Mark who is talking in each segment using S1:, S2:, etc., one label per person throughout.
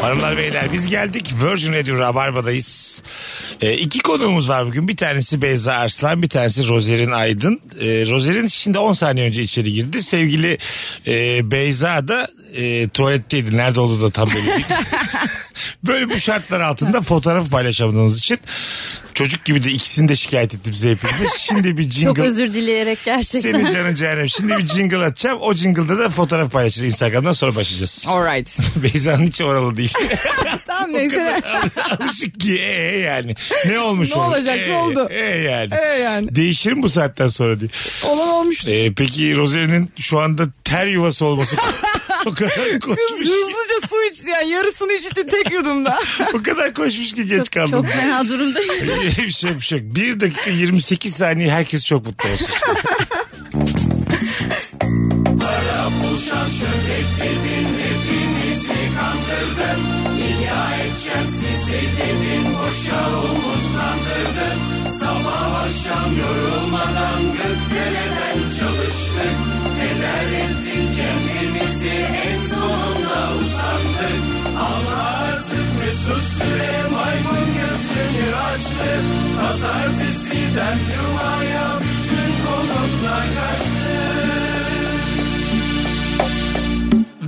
S1: Hanımlar beyler biz geldik Virgin Radio Rabarba'dayız. Ee, iki konuğumuz var bugün. Bir tanesi Beyza Arslan, bir tanesi Rozerin Aydın. Ee, Rozerin şimdi 10 saniye önce içeri girdi. Sevgili e, Beyza da e, tuvaletteydi. Nerede olduğu da tam belli değil. Böyle bu şartlar altında fotoğraf paylaşamadığımız için çocuk gibi de ikisini de şikayet ettim bize hepimiz. Şimdi bir jingle...
S2: Çok özür dileyerek gerçekten.
S1: Senin canın cehennem. Şimdi bir jingle atacağım. O jingle'da da fotoğraf paylaşacağız. Instagram'dan sonra başlayacağız.
S3: Alright.
S1: Beyza'nın hiç oralı değil.
S3: Tamam neyse.
S1: Alışık ki ee yani. Ne olmuş
S3: Ne
S1: olur?
S3: olacaksa
S1: Ee,
S3: oldu.
S1: Ee yani.
S3: Ee yani.
S1: Değişir mi bu saatten sonra diye.
S3: Olan olmuştu.
S1: Ee, peki Rozer'in şu anda ter yuvası olması o kadar koşmuş
S3: Kız
S1: ki,
S3: hızlıca su içti yani yarısını içti tek yudumda.
S1: o kadar koşmuş ki geç kaldım.
S2: Çok fena durumdayım.
S1: bir şey bir şey. 1 dakika 28 saniye herkes çok mutlu olsun.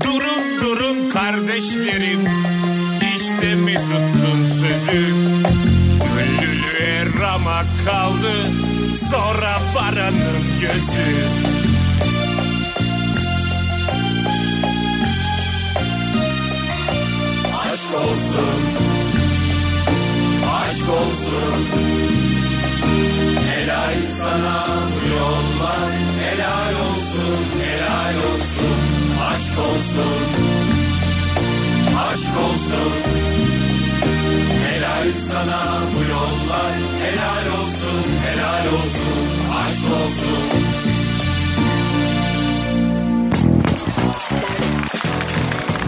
S4: Durun durun kardeşlerim işte Mesut'un sözü Güllülüğe ramak kaldı Sonra paranın gözü Aşk olsun Aşk olsun Helal sana bu yollar Helal olsun Helal olsun Aşk olsun Aşk olsun Helal sana bu yollar Helal olsun Helal olsun Aşk olsun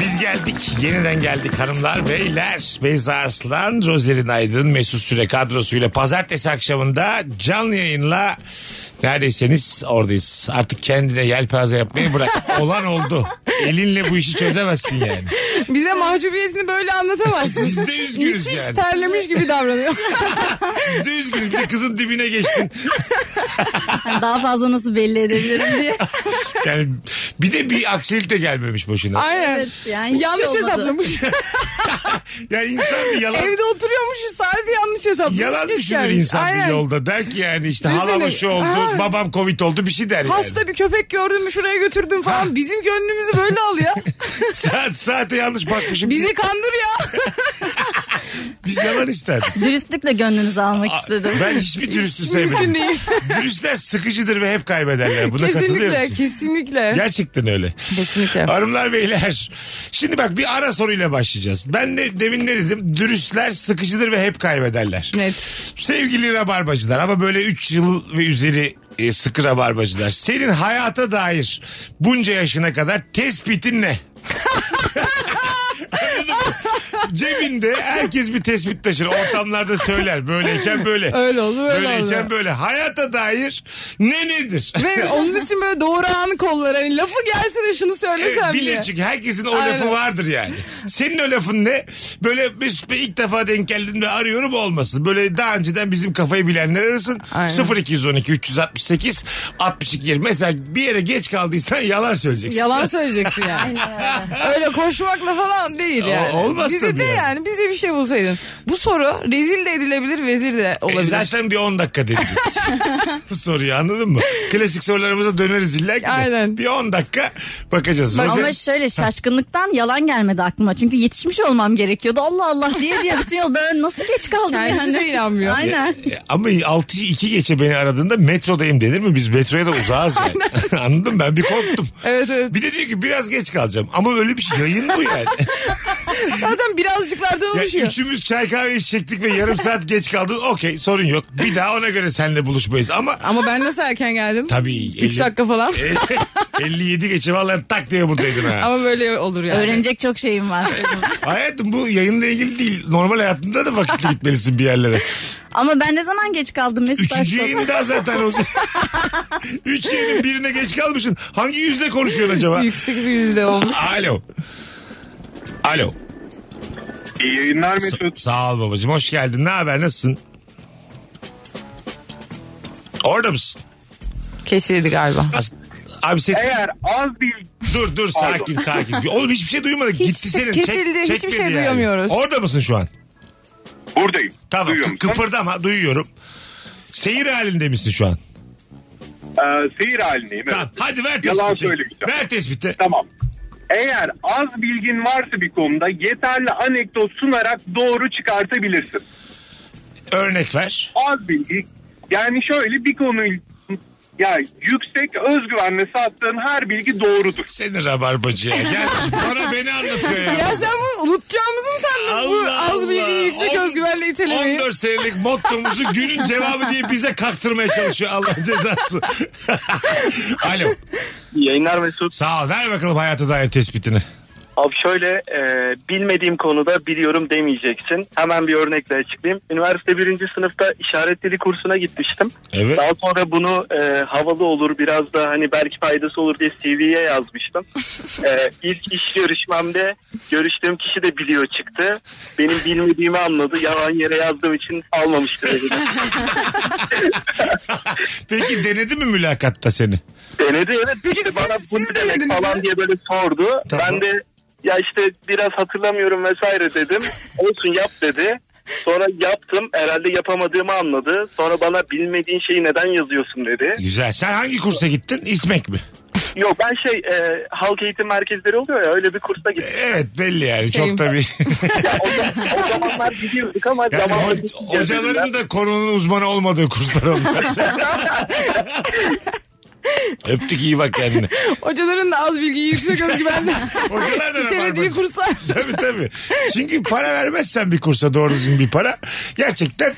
S1: Biz geldik. Yeniden geldik hanımlar beyler. Beyza Arslan, Rozerin Aydın, Mesut Süre kadrosuyla pazartesi akşamında canlı yayınla neredeyseniz oradayız. Artık kendine yelpaze yapmayı bırak. Olan oldu. Elinle bu işi çözemezsin yani.
S3: Bize mahcubiyetini böyle anlatamazsın.
S1: Biz de üzgünüz
S3: Müthiş
S1: yani.
S3: terlemiş gibi davranıyor.
S1: Biz de üzgünüz. Bir de kızın dibine geçtin.
S2: Yani daha fazla nasıl belli edebilirim diye.
S1: Yani bir de bir aksilik de gelmemiş başına.
S3: Aynen.
S2: Evet, yani hiç
S3: yanlış
S2: şey olmadı.
S3: hesaplamış.
S1: Ya insan bir yalan...
S3: Evde oturuyormuş sadece yanlış hesaplamış.
S1: Yalan
S3: geç
S1: düşünür
S3: gelmiş.
S1: insan
S3: Aynen.
S1: bir yolda. Der ki yani işte
S3: Bizi
S1: halama
S3: ne-
S1: şu oldu,
S3: Ha.
S1: babam covid oldu bir şey der yani. Ah.
S3: Hasta bir köpek gördün mü şuraya götürdüm falan. Bizim gönlümüzü böyle al ya.
S1: Saat, saate yanlış bakmışım.
S3: Bizi kandır ya.
S1: Biz yalan ister.
S2: Dürüstlükle gönlünüzü almak istedim.
S1: Ben hiçbir dürüstü
S3: Mümkün
S1: sevmedim.
S3: değil.
S1: Dürüstler sıkıcıdır ve hep kaybederler. Buna katılıyor
S3: kesinlikle
S1: musun?
S3: kesinlikle.
S1: Gerçekten öyle.
S3: Kesinlikle.
S1: Hanımlar beyler. Şimdi bak bir ara soruyla başlayacağız. Ben de demin ne dedim? Dürüstler sıkıcıdır ve hep kaybederler.
S3: Net.
S1: Sevgili rabarbacılar ama böyle 3 yıl ve üzeri e, sıkı rabarbacılar. Senin hayata dair bunca yaşına kadar tespitin ne? Anladın mı? Cebinde herkes bir tespit taşır. Ortamlarda söyler. Böyleyken böyle.
S3: Öyle oldu, böyle
S1: Böyleyken
S3: oldu.
S1: böyle. Hayata dair ne nedir?
S3: Ve onun için böyle doğru anı kollar. Hani lafı gelsin de şunu
S1: Evet,
S3: söylesem
S1: bilir
S3: diye.
S1: çünkü herkesin o
S3: Aynen.
S1: lafı vardır yani. Senin o lafın ne? Böyle Mesut Bey ilk defa denk geldim ve arıyorum olmasın. Böyle daha önceden bizim kafayı bilenler arasın.
S3: Aynen.
S1: 0212 368 62 20. Mesela bir yere geç kaldıysan yalan söyleyeceksin.
S3: Yalan söyleyeceksin yani. Öyle koşmakla falan değil yani.
S1: olmaz
S3: bize
S1: tabii
S3: de
S1: yani.
S3: yani. bize bir şey bulsaydın. Bu soru rezil de edilebilir, vezir de
S1: E,
S3: olabilir.
S1: zaten bir 10 dakika deneyeceğiz. Bu soruyu anladın mı? Klasik sorularımıza döneriz illa ki de.
S3: Aynen.
S1: Bir 10 dakika bakacağız. Rozen-
S2: Ama şöyle şaşkınlıktan yalan gelmedi aklıma. Çünkü yetişmiş olmam gerekiyordu. Allah Allah diye diye bütün yıl ben nasıl geç kaldım
S3: Kendisi
S2: yani.
S3: de inanmıyor.
S2: Aynen.
S1: E, Ama 6'yı 2 geçe beni aradığında metrodayım denir mi? Biz metroya da uzağız yani. Anladın mı? Ben bir korktum.
S3: Evet, evet.
S1: Bir de diyor ki biraz geç kalacağım. Ama öyle bir şey yayın bu yani.
S3: Zaten birazcıklardan
S1: ya
S3: oluşuyor.
S1: üçümüz çay kahve içecektik ve yarım saat geç kaldın. Okey sorun yok. Bir daha ona göre seninle buluşmayız ama
S3: Ama ben nasıl erken geldim?
S1: Tabii,
S3: 3
S1: elli- E,
S3: dakika falan.
S1: 57 geçe vallahi tak diye buradaydın ha.
S3: Ama böyle olur yani.
S2: Öğrenecek çok şeyim var.
S1: Hayatım bu yayınla ilgili değil. Normal hayatında da vakitli gitmelisin bir yerlere.
S2: Ama ben ne zaman geç kaldım Mesut
S1: Üçüncü
S2: Aşkım?
S1: yayın daha zaten olsun. Üç yayının birine geç kalmışsın. Hangi yüzle konuşuyorsun acaba?
S3: Yüksek bir yüzde olmuş.
S1: Alo. Alo.
S5: İyi yayınlar
S1: Sa-
S5: Mesut.
S1: sağ ol babacığım. Hoş geldin. Ne haber? Nasılsın? Orada mısın?
S3: Kesildi galiba.
S1: As- Abi ses...
S5: Eğer az bir
S1: Dur dur sakin sakin. Oğlum hiçbir şey duymadık.
S3: Hiç
S1: Gitti senin.
S3: kesildi, hiçbir
S1: çekmedi
S3: şey duyamıyoruz.
S1: Orada mısın şu an?
S5: buradayım.
S1: Tamam.
S5: Duyuyor
S1: Kı-
S5: musun?
S1: kıpırdama duyuyorum. Seyir halinde misin şu an?
S5: Ee, seyir halindeyim. evet.
S1: Tamam. Hadi ver tespiti.
S5: Yalan söylemeyeceğim.
S1: Ver tespiti.
S5: Tamam. Eğer az bilgin varsa bir konuda yeterli anekdot sunarak doğru çıkartabilirsin.
S1: Örnek ver.
S5: Az bilgi yani şöyle bir konuyu yani yüksek özgüvenle sattığın her bilgi doğrudur.
S1: Seni rabarbacı ya. Gelmiş bana beni anlatıyor ya.
S3: Ya sen bunu unutacağımızı mı sandın? Bu
S1: Allah
S3: az
S1: Allah.
S3: bilgiyi yüksek
S1: On-
S3: özgüvenle itelemeyi.
S1: 14 senelik mottomuzu günün cevabı diye bize kaktırmaya çalışıyor Allah cezası. Alo.
S6: Yayınlar Mesut.
S1: Sağ ol. Ver bakalım hayata dair tespitini.
S6: Abi şöyle e, bilmediğim konuda biliyorum demeyeceksin. Hemen bir örnekle açıklayayım. Üniversite birinci sınıfta işaret dili kursuna gitmiştim.
S1: Evet.
S6: Daha sonra bunu e, havalı olur biraz da hani belki faydası olur diye CV'ye yazmıştım. e, ilk iş görüşmemde görüştüğüm kişi de biliyor çıktı. Benim bilmediğimi anladı. Yalan yere yazdığım için almamıştı. dedi.
S1: Peki denedi mi mülakatta seni?
S6: Denedi evet.
S3: Peki
S6: İşte
S3: siz-
S6: bana bu
S3: siz
S6: ne demek
S3: denediniz mi?
S6: falan diye böyle sordu.
S1: Tamam.
S6: Ben de ya işte biraz hatırlamıyorum vesaire dedim. Olsun yap dedi. Sonra yaptım. Herhalde yapamadığımı anladı. Sonra bana bilmediğin şeyi neden yazıyorsun dedi.
S1: Güzel. Sen hangi kursa gittin? İsmek mi?
S6: Yok ben şey e, halk eğitim merkezleri oluyor ya öyle bir kursa gittim.
S1: Evet belli yani.
S3: Same.
S1: Çok tabii.
S6: Ya o, zaman- o zamanlar biliyorduk ama
S1: Yani
S6: zamanla
S1: ho-
S6: bilmiyorduk.
S1: hocaların da konunun uzmanı olmadığı kurslar onlar. Öptük iyi bak kendine.
S3: Hocaların da az bilgiyi yüksek özgüvenle
S1: Hocalar da
S3: itelediği
S1: rabarbacı.
S3: kursa.
S1: tabii tabii. Çünkü para vermezsen bir kursa doğru düzgün bir para gerçekten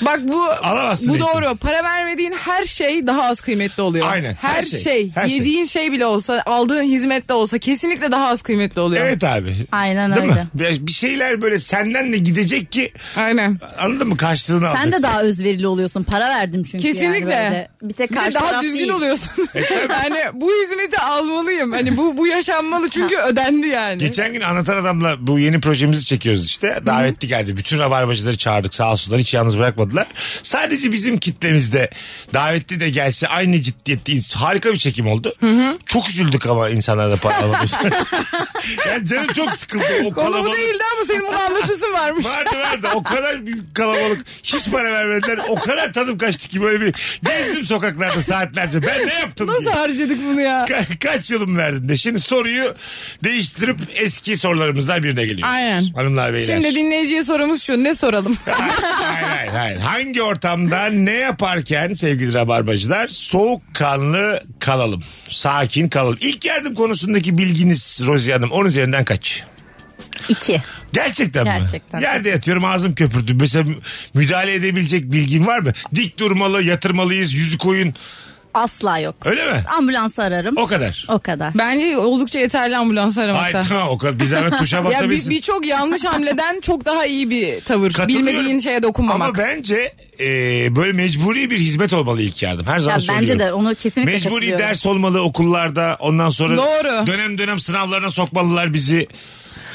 S3: Bak bu
S1: Alamazsın
S3: bu
S1: eğitim.
S3: doğru. Para vermediğin her şey daha az kıymetli oluyor.
S1: Aynen,
S3: Her,
S1: her şey,
S3: şey,
S1: her şey.
S3: yediğin şey. bile olsa, aldığın hizmet de olsa kesinlikle daha az kıymetli oluyor.
S1: evet abi.
S2: Aynen
S1: Değil
S2: öyle.
S1: mi? Bir- Bir şeyler böyle senden de gidecek ki
S3: Aynen.
S1: anladın mı karşılığını
S2: Sen
S1: alacaksın.
S2: de daha özverili oluyorsun. Para verdim çünkü.
S3: Kesinlikle.
S2: Yani böyle. bir tek
S3: Bir de
S2: karşı
S3: daha
S2: taraf
S3: düzgün
S2: değil.
S3: oluyorsun.
S1: E,
S3: yani bu hizmeti almalıyım. Hani bu bu yaşanmalı çünkü ödendi yani.
S1: Geçen gün anlatan adamla bu yeni projemizi çekiyoruz işte. Davetli geldi. Bütün rabarbacıları çağırdık. Sağ olsunlar hiç yalnız bırakmadılar. Sadece bizim kitlemizde davetli de gelse aynı ciddiyette harika bir çekim oldu. Çok üzüldük ama insanlar da para alamamış. yani canım çok sıkıldı. O
S3: Konu bu
S1: kalabalık-
S3: değildi ama senin bunu anlatısın varmış.
S1: Vardı vardı. O kadar bir kalabalık. Hiç para vermediler. O kadar tadım kaçtı ki böyle bir gezdim sokaklarda saatlerce. Ben ne yaptım
S3: Nasıl
S1: diye.
S3: harcadık bunu ya?
S1: Ka- kaç yılım verdin de. Şimdi soruyu değiştirip eski sorularımızdan birine geliyor.
S3: Aynen.
S1: Hanımlar beyler.
S3: Şimdi dinleyiciye sorumuz şu. Ne soralım?
S1: hayır, hayır, hayır. Hangi ortamda ne yaparken sevgili rabarbacılar soğukkanlı kalalım. Sakin kalalım. İlk yardım konusundaki bilginiz Rozi Hanım 10 üzerinden kaç?
S2: İki.
S1: Gerçekten,
S2: Gerçekten.
S1: mi? Yerde yatıyorum ağzım köpürdü. Mesela müdahale edebilecek bilgin var mı? Dik durmalı, yatırmalıyız, yüzü koyun.
S2: Asla yok.
S1: Öyle mi?
S2: Ambulansı ararım.
S1: O kadar.
S2: O kadar.
S3: Bence oldukça yeterli ambulans
S1: Ay
S3: aramakta.
S1: tamam o kadar. Bir zahmet tuşa
S3: Ya bir-
S1: basabilsin.
S3: birçok yanlış hamleden çok daha iyi bir tavır.
S1: Katılıyorum.
S3: Bilmediğin şeye dokunmamak.
S1: Ama bence e, böyle mecburi bir hizmet olmalı ilk yardım. Her zaman
S2: Ya
S1: söylüyorum.
S2: bence de onu kesinlikle
S1: Mecburi
S2: katılıyorum.
S1: ders olmalı okullarda. Ondan sonra
S3: Doğru.
S1: dönem dönem sınavlarına sokmalılar bizi.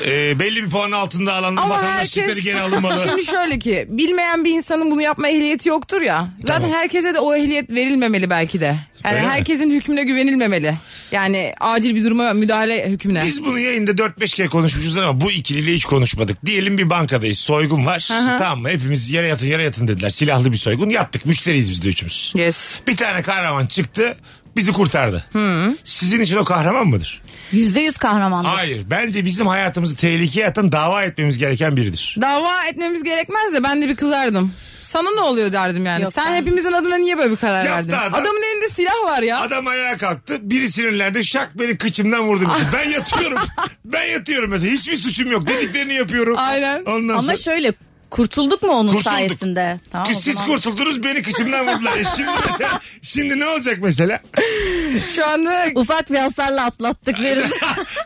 S1: E, belli bir puanın altında alanlar
S3: Ama
S1: vatandaşlıkları
S3: herkes
S1: geri alınmalı.
S3: şimdi şöyle ki bilmeyen bir insanın bunu yapma ehliyeti yoktur ya. Zaten
S1: Tamam.
S3: herkese de o ehliyet verilmemeli belki de. Yani
S1: Öyle mi?
S3: herkesin hükmüne güvenilmemeli. Yani acil bir duruma müdahale hükmüne.
S1: Biz bunu yayında 4-5 kere konuşmuşuz ama bu ikiliyle hiç konuşmadık. Diyelim bir bankadayız. Soygun var. Tamam mı? Hepimiz yere yatın yere yatın dediler. Silahlı bir soygun. Yattık. Müşteriyiz biz de üçümüz.
S3: Yes.
S1: Bir tane kahraman çıktı. Bizi kurtardı. Sizin için o kahraman mıdır?
S2: Yüzde yüz kahramanlık.
S1: Hayır. Bence bizim hayatımızı tehlikeye atan dava etmemiz gereken biridir.
S3: Dava etmemiz gerekmez de ben de bir kızardım. Sana ne oluyor derdim yani.
S2: Yok,
S3: Sen
S2: ben-
S3: hepimizin adına niye böyle bir karar
S1: Yaptı
S3: verdin?
S1: adam.
S3: Adamın elinde silah var ya.
S1: Adam ayağa kalktı. Biri sinirlendi. Şak beni kıçımdan vurdu. bizi. Ben yatıyorum. ben yatıyorum mesela. Hiçbir suçum yok. Dediklerini yapıyorum.
S3: Aynen.
S1: Ondan
S2: Ama
S1: sonra...
S2: şöyle Kurtulduk mu onun
S1: Kurtulduk.
S2: sayesinde? Tamam, o
S1: Siz
S2: zaman-
S1: kurtuldunuz beni kıçımdan vurdular. E şimdi mesela şimdi ne olacak mesela?
S3: Şu anda
S2: Ufak bir hasarla atlattık veririz.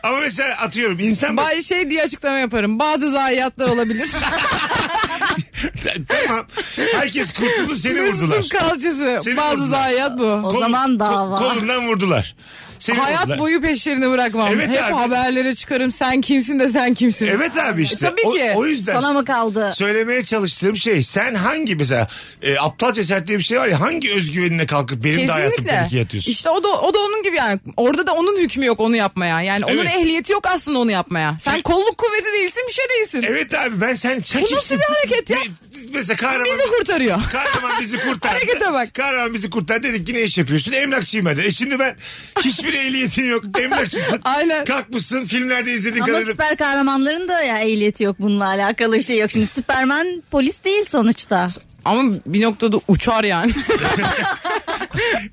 S1: Ama mesela atıyorum insan
S3: ba- şey diye açıklama yaparım. Bazı zayiatlar olabilir.
S1: tamam. Herkes kurtuldu seni vurdular.
S3: Mesut'un kalçası.
S1: Seni
S3: bazı
S1: vurdular.
S3: zayiat bu.
S2: O zaman dava.
S1: kolundan vurdular. Seni
S3: Hayat
S1: vurdular.
S3: boyu peşlerini bırakmam.
S1: Evet
S3: Hep
S1: abi.
S3: haberlere çıkarım. Sen kimsin de sen kimsin.
S1: Evet abi işte.
S3: E, tabii ki.
S1: O, o yüzden
S2: Sana mı kaldı?
S1: söylemeye çalıştığım şey sen hangi mesela e, aptal cesaret diye bir şey var ya hangi özgüvenine kalkıp benim de hayatım tehlikeye atıyorsun?
S3: İşte o da o da onun gibi yani. Orada da onun hükmü yok onu yapmaya. Yani onun
S1: Evet.
S3: ehliyeti yok aslında onu yapmaya. Sen kolluk kuvveti değilsin, bir şey değilsin.
S1: Evet abi ben sen sen
S3: Bu nasıl
S1: kimsin?
S3: bir hareket ya?
S1: Bir- Mesela kahraman
S3: Bizi kurtarıyor.
S1: Kahraman bizi kurtardı.
S3: Harekete bak.
S1: Kahraman bizi kurtardı dedik yine iş yapıyorsun. Emlakçıyım hadi. E şimdi ben hiçbir ehliyetin yok. Emlakçısın.
S3: Aynen.
S1: Kalkmışsın filmlerde izlediğin
S2: Ama
S1: kadarıyla.
S2: süper kahramanların da ya ehliyeti yok bununla alakalı bir şey yok. Şimdi Superman polis değil sonuçta.
S3: Ama bir noktada uçar yani.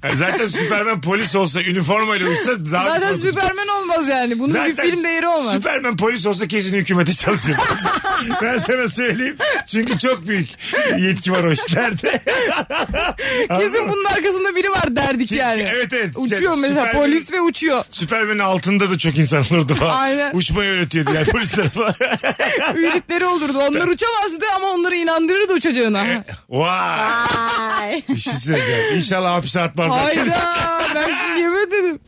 S1: Yani zaten Süperman polis olsa üniformayla uçsa daha
S3: Zaten
S1: korkutucu.
S3: Süpermen olmaz yani. Bunun bir film değeri olmaz.
S1: Süperman polis olsa kesin hükümete çalışır. ben sana söyleyeyim. Çünkü çok büyük yetki var o işlerde. Anladın
S3: Kesin
S1: mı?
S3: bunun arkasında biri var derdik
S1: Ki-
S3: yani.
S1: evet, evet.
S3: Uçuyor
S1: Yani
S3: mesela
S1: Süpermen-
S3: polis ve uçuyor.
S1: Süpermen'in altında da çok insan olurdu falan.
S3: Aynen.
S1: Uçmayı öğretiyordu yani polisler falan.
S3: Ümitleri olurdu. Onlar uçamazdı ama onları inandırırdı uçacağına.
S1: Vay.
S2: Ay.
S1: Bir şey söyleyeceğim. İnşallah hapse atmazlar.
S3: Hayda ben şimdi yemin dedim.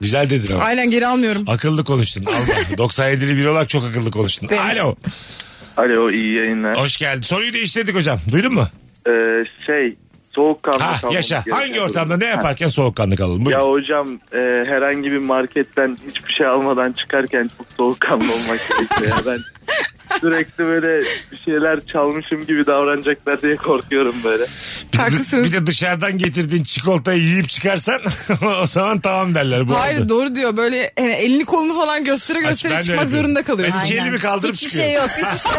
S1: Güzel dedin ama.
S3: Aynen geri almıyorum.
S1: Akıllı konuştun. Alma. 97'li biri olarak çok akıllı konuştun.
S3: Thanks.
S1: Alo.
S6: Alo iyi yayınlar.
S1: Hoş geldin. Soruyu değiştirdik hocam. Duydun mu?
S6: Ee, şey soğukkanlı
S1: Ha
S6: kalmamız
S1: yaşa.
S6: gereken
S1: Hangi ortamda
S6: durum.
S1: ne yaparken soğukkanlı kalalım?
S6: Ha.
S1: Buyurun.
S6: Ya hocam e, herhangi bir marketten hiçbir şey almadan çıkarken çok soğukkanlı olmak gerekiyor. Ya. Ben sürekli böyle bir şeyler çalmışım gibi davranacaklar diye korkuyorum böyle.
S1: Bir de-
S3: Haklısınız.
S1: Bir de dışarıdan getirdiğin çikolatayı yiyip çıkarsan o zaman tamam derler. Bu
S3: Hayır
S1: oldu.
S3: doğru diyor böyle yani elini kolunu falan göstere
S1: Aç,
S3: göstere
S1: ben de
S3: çıkmak
S1: öyle diyorum.
S3: zorunda kalıyorsun.
S1: Eski
S2: Aynen.
S1: elimi kaldırıp
S2: Hiçbir
S1: çıkıyor.
S2: şey yok. Hiçbir şey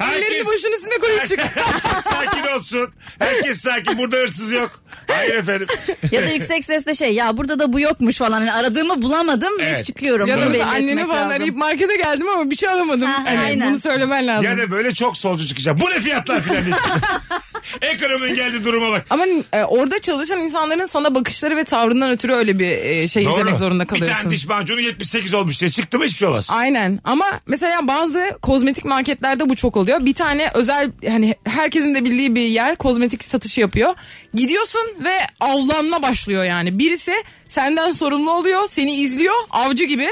S1: Herkes-
S3: Ellerini boşun üstüne koyup çık.
S1: Herkes sakin olsun. Herkes sakin. Burada hırsız yok. Hayır efendim.
S2: ya da yüksek sesle şey ya burada da bu yokmuş falan. Yani aradığımı bulamadım ve
S1: Evet.
S2: çıkıyorum.
S3: ya da
S2: Bunu
S3: mesela
S2: belli
S3: anneni
S2: etmek
S3: falan
S2: lazım.
S3: arayıp markete geldim ama bir şey alamadım.
S2: Ha,
S3: Hani
S2: aynen.
S3: Bunu söylemen lazım.
S1: Ya da böyle çok solcu çıkacağım. Bu ne fiyatlar filan diye çıkacağım. Ekonominin geldiği duruma bak.
S3: Ama e, orada çalışan insanların sana bakışları ve tavrından ötürü öyle bir e, şey izlemek zorunda
S1: Bir
S3: kalıyorsun.
S1: tane diş macunu 78 olmuş diye çıktı mı hiçbir şey olmaz.
S3: Aynen ama mesela bazı kozmetik marketlerde bu çok oluyor. Bir tane özel hani herkesin de bildiği bir yer kozmetik satışı yapıyor. Gidiyorsun ve avlanma başlıyor yani. Birisi senden sorumlu oluyor, seni izliyor avcı gibi.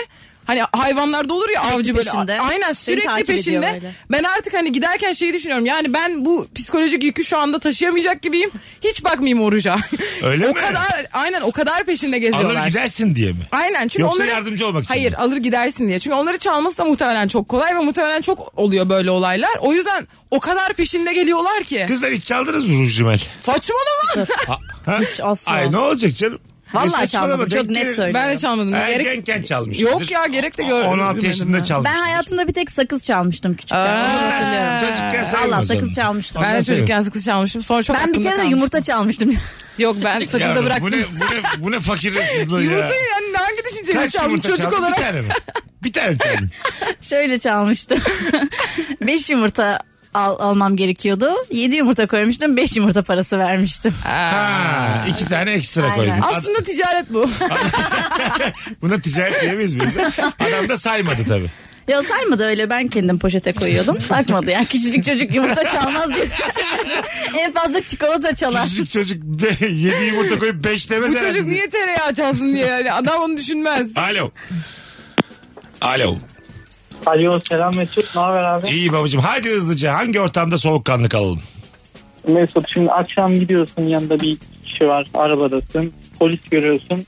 S3: Hani hayvanlarda olur ya
S2: Sürekli
S3: avcı böyle.
S2: peşinde.
S3: Aynen
S2: Seni
S3: sürekli
S2: takip ediyor
S3: peşinde.
S2: böyle.
S3: Ben artık hani giderken şeyi düşünüyorum. Yani ben bu psikolojik yükü şu anda taşıyamayacak gibiyim. Hiç bakmayayım oruca.
S1: Öyle
S3: o
S1: mi?
S3: kadar aynen o kadar peşinde
S1: Alır
S3: geziyorlar.
S1: gidersin diye mi?
S3: Aynen çünkü
S1: Yoksa
S3: onları-
S1: yardımcı olmak için
S3: Hayır
S1: mi?
S3: alır gidersin diye. Çünkü onları çalması da muhtemelen çok kolay ve muhtemelen çok oluyor böyle olaylar. O yüzden o kadar peşinde geliyorlar ki.
S1: Kızlar hiç çaldınız mı ruj rimel?
S3: Saçmalama.
S1: Ha?
S2: Hiç asla.
S1: Ay ne olacak canım?
S2: Vallahi
S1: Ne saçmalama,
S2: çalmadım,
S1: denk
S2: çok net
S1: gelir.
S2: söylüyorum.
S3: ben de çalmadım. Gerek...
S1: Ergenken çalmıştır.
S3: Yok ya, gerek de görmedim
S1: 16 yaşında
S3: ben.
S1: çalmış.
S2: Ben hayatımda bir tek sakız çalmıştım küçükken. Onu hatırlıyorum.
S1: Çocukken sayılmaz
S2: Valla
S1: onu.
S2: sakız çalmıştım.
S3: Ben
S1: Ondan
S3: de
S1: sonra-
S3: çocukken sıkı çalmışım. Sonra çok
S2: Ben bir
S3: aklımda
S2: kere de
S3: kalmış.
S2: yumurta çalmıştım.
S3: Yok ben sakızda
S1: Yavrum,
S3: bıraktım.
S1: Bu ne, bu ne, bu ne fakir hırsızlığı ya.
S3: Yumurtayı yani hangi düşünceyle
S1: Kaç
S3: çaldım
S1: yumurta
S3: çocuk
S1: çaldın? Bir
S3: olarak?
S1: tane mi? Bir tane mi çaldın?
S2: Şöyle çalmıştım. 5 yumurta al- almam gerekiyordu. 7 yumurta koymuştum. 5 yumurta parası vermiştim.
S1: Ha, iki tane ekstra
S2: Aynen.
S1: koydun. Ad-
S3: Aslında ticaret bu.
S1: Buna ticaret diyemeyiz biz. Adam da saymadı tabii.
S2: Ya saymadı öyle ben kendim poşete koyuyordum. Takmadı yani küçücük çocuk yumurta çalmaz diye düşünüyordum. En fazla çikolata çalar.
S1: Küçücük çocuk be- yedi yumurta koyup beş demez
S3: bu
S1: herhalde.
S3: çocuk niye tereyağı çalsın diye yani. Adam onu düşünmez.
S1: Alo. Alo.
S7: Alo selam Mesut. Ne haber abi?
S1: İyi babacığım. Hadi hızlıca hangi ortamda soğukkanlı kalalım?
S7: Mesut şimdi akşam gidiyorsun yanında bir kişi var arabadasın. Polis görüyorsun.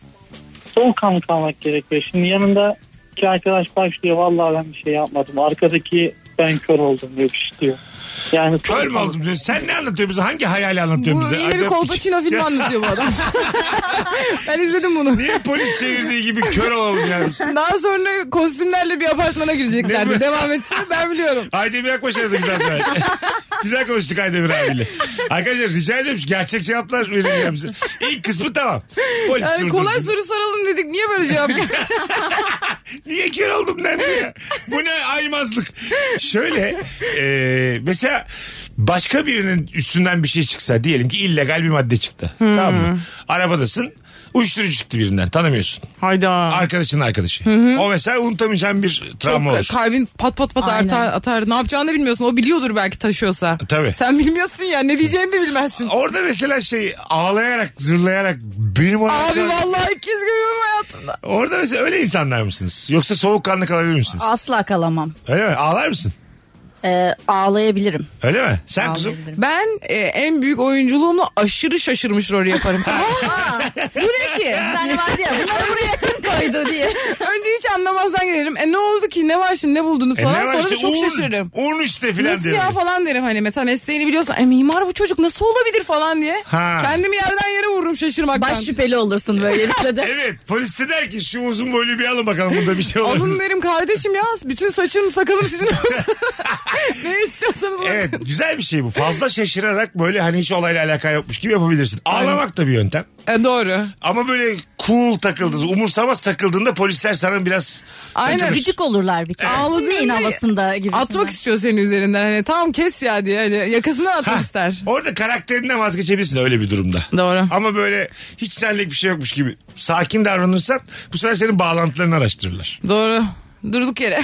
S7: Soğukkanlı kalmak gerekiyor. Şimdi yanında iki arkadaş başlıyor. Vallahi ben bir şey yapmadım. Arkadaki ben kör oldum diyor diyor. Yani
S1: Kör mü
S7: soğukkanlı-
S1: oldum diyor. Sen ne anlatıyorsun bize? Hangi hayali anlatıyorsun
S3: Bu
S1: bize?
S3: yine bir
S1: Hadi öptük.
S3: Kolpaçino filmi anlatıyor bu adam. ben izledim bunu.
S1: Niye polis çevirdiği gibi kör olalım yani? biz?
S3: Daha sonra kostümlerle bir apartmana
S1: Değil mi?
S3: gireceklerdi. Devam etse ben biliyorum.
S1: Aydemir Akbaş aradı güzel sonra. güzel konuştuk Aydemir abiyle. Arkadaşlar rica ediyorum şu gerçek cevaplar verin ya bize. İlk kısmı tamam. Polis
S3: Yani
S1: durdurdu.
S3: kolay soru soralım dedik. Niye böyle cevap geldi?
S1: Niye kör oldum ben ya? Bu ne aymazlık. Şöyle e, mesela başka birinin üstünden bir şey çıksa diyelim ki illegal bir madde çıktı.
S3: Hmm.
S1: Tamam mı? Arabadasın uyuşturucu çıktı birinden tanımıyorsun.
S3: Hayda.
S1: Arkadaşın arkadaşı. O mesela unutamayacağın bir travma
S3: Çok
S1: olur.
S3: kalbin pat pat pat
S2: Aynen.
S3: artar, atar. Ne yapacağını da bilmiyorsun. O biliyordur belki taşıyorsa.
S1: E, Tabii.
S3: Sen bilmiyorsun ya. Ne diyeceğini de bilmezsin.
S1: Orada mesela şey ağlayarak zırlayarak benim ona
S3: Abi vallahi ikiz görüyorum hayatımda.
S1: Orada mesela öyle insanlar mısınız? Yoksa soğukkanlı kalabilir misiniz?
S2: Asla kalamam.
S1: Öyle mi? Ağlar mısın?
S2: Ee, ağlayabilirim.
S1: Öyle mi? Sen kuzum.
S3: Ben e, en büyük oyunculuğumla aşırı şaşırmış rol yaparım. Aa, bu ne ki?
S2: Yani vardı ya bunları buraya kim koydu diye.
S3: Önce hiç anlamazdan gelirim. E ne oldu ki? Ne var şimdi? Ne buldunuz
S1: E ne
S3: falan.
S1: var
S3: Sonra
S1: işte,
S3: da çok
S1: un,
S3: şaşırırım.
S1: Un işte filan
S3: Nasıl
S1: diyorum.
S3: ya falan derim hani mesela mesleğini biliyorsan e mimar bu çocuk nasıl olabilir falan diye.
S1: Ha.
S3: Kendimi yerden yere vururum şaşırmaktan.
S2: Baş şüpheli olursun böylelikle de.
S1: Evet polis de der ki şu uzun boylu bir alın bakalım bunda bir şey olur.
S3: Alın
S1: mu?
S3: derim kardeşim ya bütün saçım sakalım sizin olsun. ne istiyorsanız bakın.
S1: Evet güzel bir şey bu. Fazla şaşırarak böyle hani hiç olayla alaka yokmuş gibi yapabilirsin. Ağlamak da bir yöntem.
S3: E, doğru.
S1: Ama böyle cool takıldığınız, umursamaz takıldığında polisler sana biraz...
S3: Aynen.
S2: Gıcık olurlar bir kere.
S3: Ağladığında
S2: Neyin havasında gibi.
S3: Atmak istiyor senin üzerinden hani tamam kes ya diye hani yakasından atmak ister.
S1: Orada karakterinden vazgeçebilirsin öyle bir durumda.
S3: Doğru.
S1: Ama böyle hiç senlik bir şey yokmuş gibi sakin davranırsan bu sefer senin bağlantılarını araştırırlar.
S3: Doğru. Durduk yere.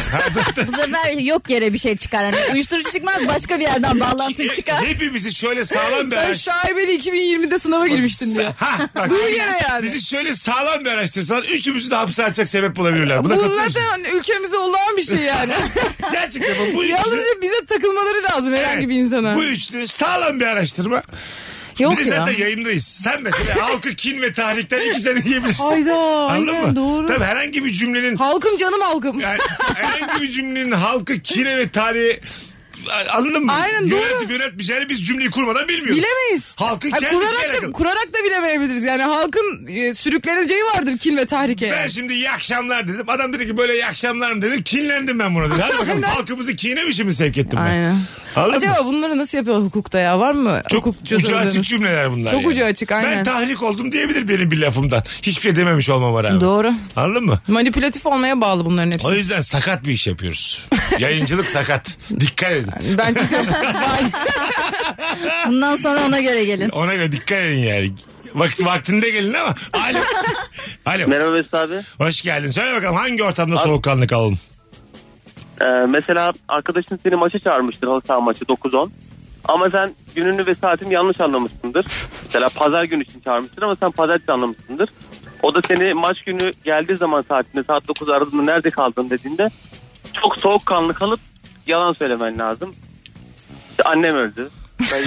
S2: Bu sefer yok yere bir şey çıkar. Hani uyuşturucu çıkmaz başka bir yerden bağlantı çıkar.
S1: Hepimizi şöyle sağlam bir
S3: Sen
S1: araştır.
S3: şaibeli 2020'de sınava girmiştin diye.
S1: Ha, bak,
S3: Dur yere yani.
S1: Bizi şöyle sağlam bir araştırsalar üçümüzü de hapse atacak sebep bulabilirler. Buna
S3: Bu
S1: katılır
S3: zaten
S1: mısın?
S3: hani ülkemize olan bir şey yani.
S1: Gerçekten bu, bu üçlü...
S3: Yalnızca bize takılmaları lazım herhangi bir insana.
S1: Bu üçlü sağlam bir araştırma.
S3: Yok
S1: bir de
S3: ya.
S1: zaten yayındayız. Sen mesela halkı kin ve tahrikten iki sene yiyebilirsin.
S3: Hayda,
S1: Anladın
S3: aynen,
S1: mı?
S3: doğru.
S1: Tabii herhangi bir cümlenin
S3: Halkım canım halkım.
S1: Yani herhangi bir cümlenin halkı kine ve tarihe anladın mı?
S3: Aynen,
S1: Yönetip
S3: doğru.
S1: yönetmeyeceğini biz cümleyi kurmadan bilmiyoruz.
S3: Bilemeyiz.
S1: Halkın
S3: Ha,
S1: kendisiyle
S3: kurarak da,
S1: alakalı.
S3: kurarak da bilemeyebiliriz. Yani halkın e, sürükleneceği vardır kin ve tahrike.
S1: Ben şimdi iyi akşamlar dedim. Adam dedi ki böyle iyi akşamlar mı dedim. Kinlendim ben buna dedi. Hadi bakalım halkımızı kine mi şimdi sevk ettim ben?
S3: Aynen.
S1: Anladın mı?
S3: Acaba bunları nasıl yapıyor hukukta ya? Var mı
S1: Çok
S3: hukukçu
S1: ucu
S3: tanıdığınız?
S1: açık cümleler bunlar.
S3: Çok
S1: yani.
S3: ucu açık,
S1: Ben
S3: aynen.
S1: tahrik oldum diyebilir benim bir lafımdan. Hiçbir şey dememiş olmama rağmen.
S3: Doğru.
S1: Anladın mı?
S3: Manipülatif olmaya bağlı bunların
S1: O
S3: hepsi.
S1: yüzden sakat bir iş yapıyoruz. Yayıncılık sakat. Dikkat edin.
S3: Ben çıkıyorum.
S2: Bundan sonra ona göre gelin.
S1: Ona göre dikkat edin yani. Vakt, vaktinde gelin ama. Alo. Alo.
S6: Merhaba Mesut abi.
S1: Hoş geldin. Söyle bakalım hangi ortamda soğukkanlı kalalım?
S6: Ee, mesela arkadaşın seni maça çağırmıştır halı saha maçı 9-10. Ama sen gününü ve saatini yanlış anlamışsındır. mesela pazar günü için çağırmıştır ama sen pazartesi anlamışsındır. O da seni maç günü geldiği zaman saatinde saat 9 aradığında nerede kaldın dediğinde çok soğukkanlı kalıp yalan söylemen lazım. İşte annem öldü. Ben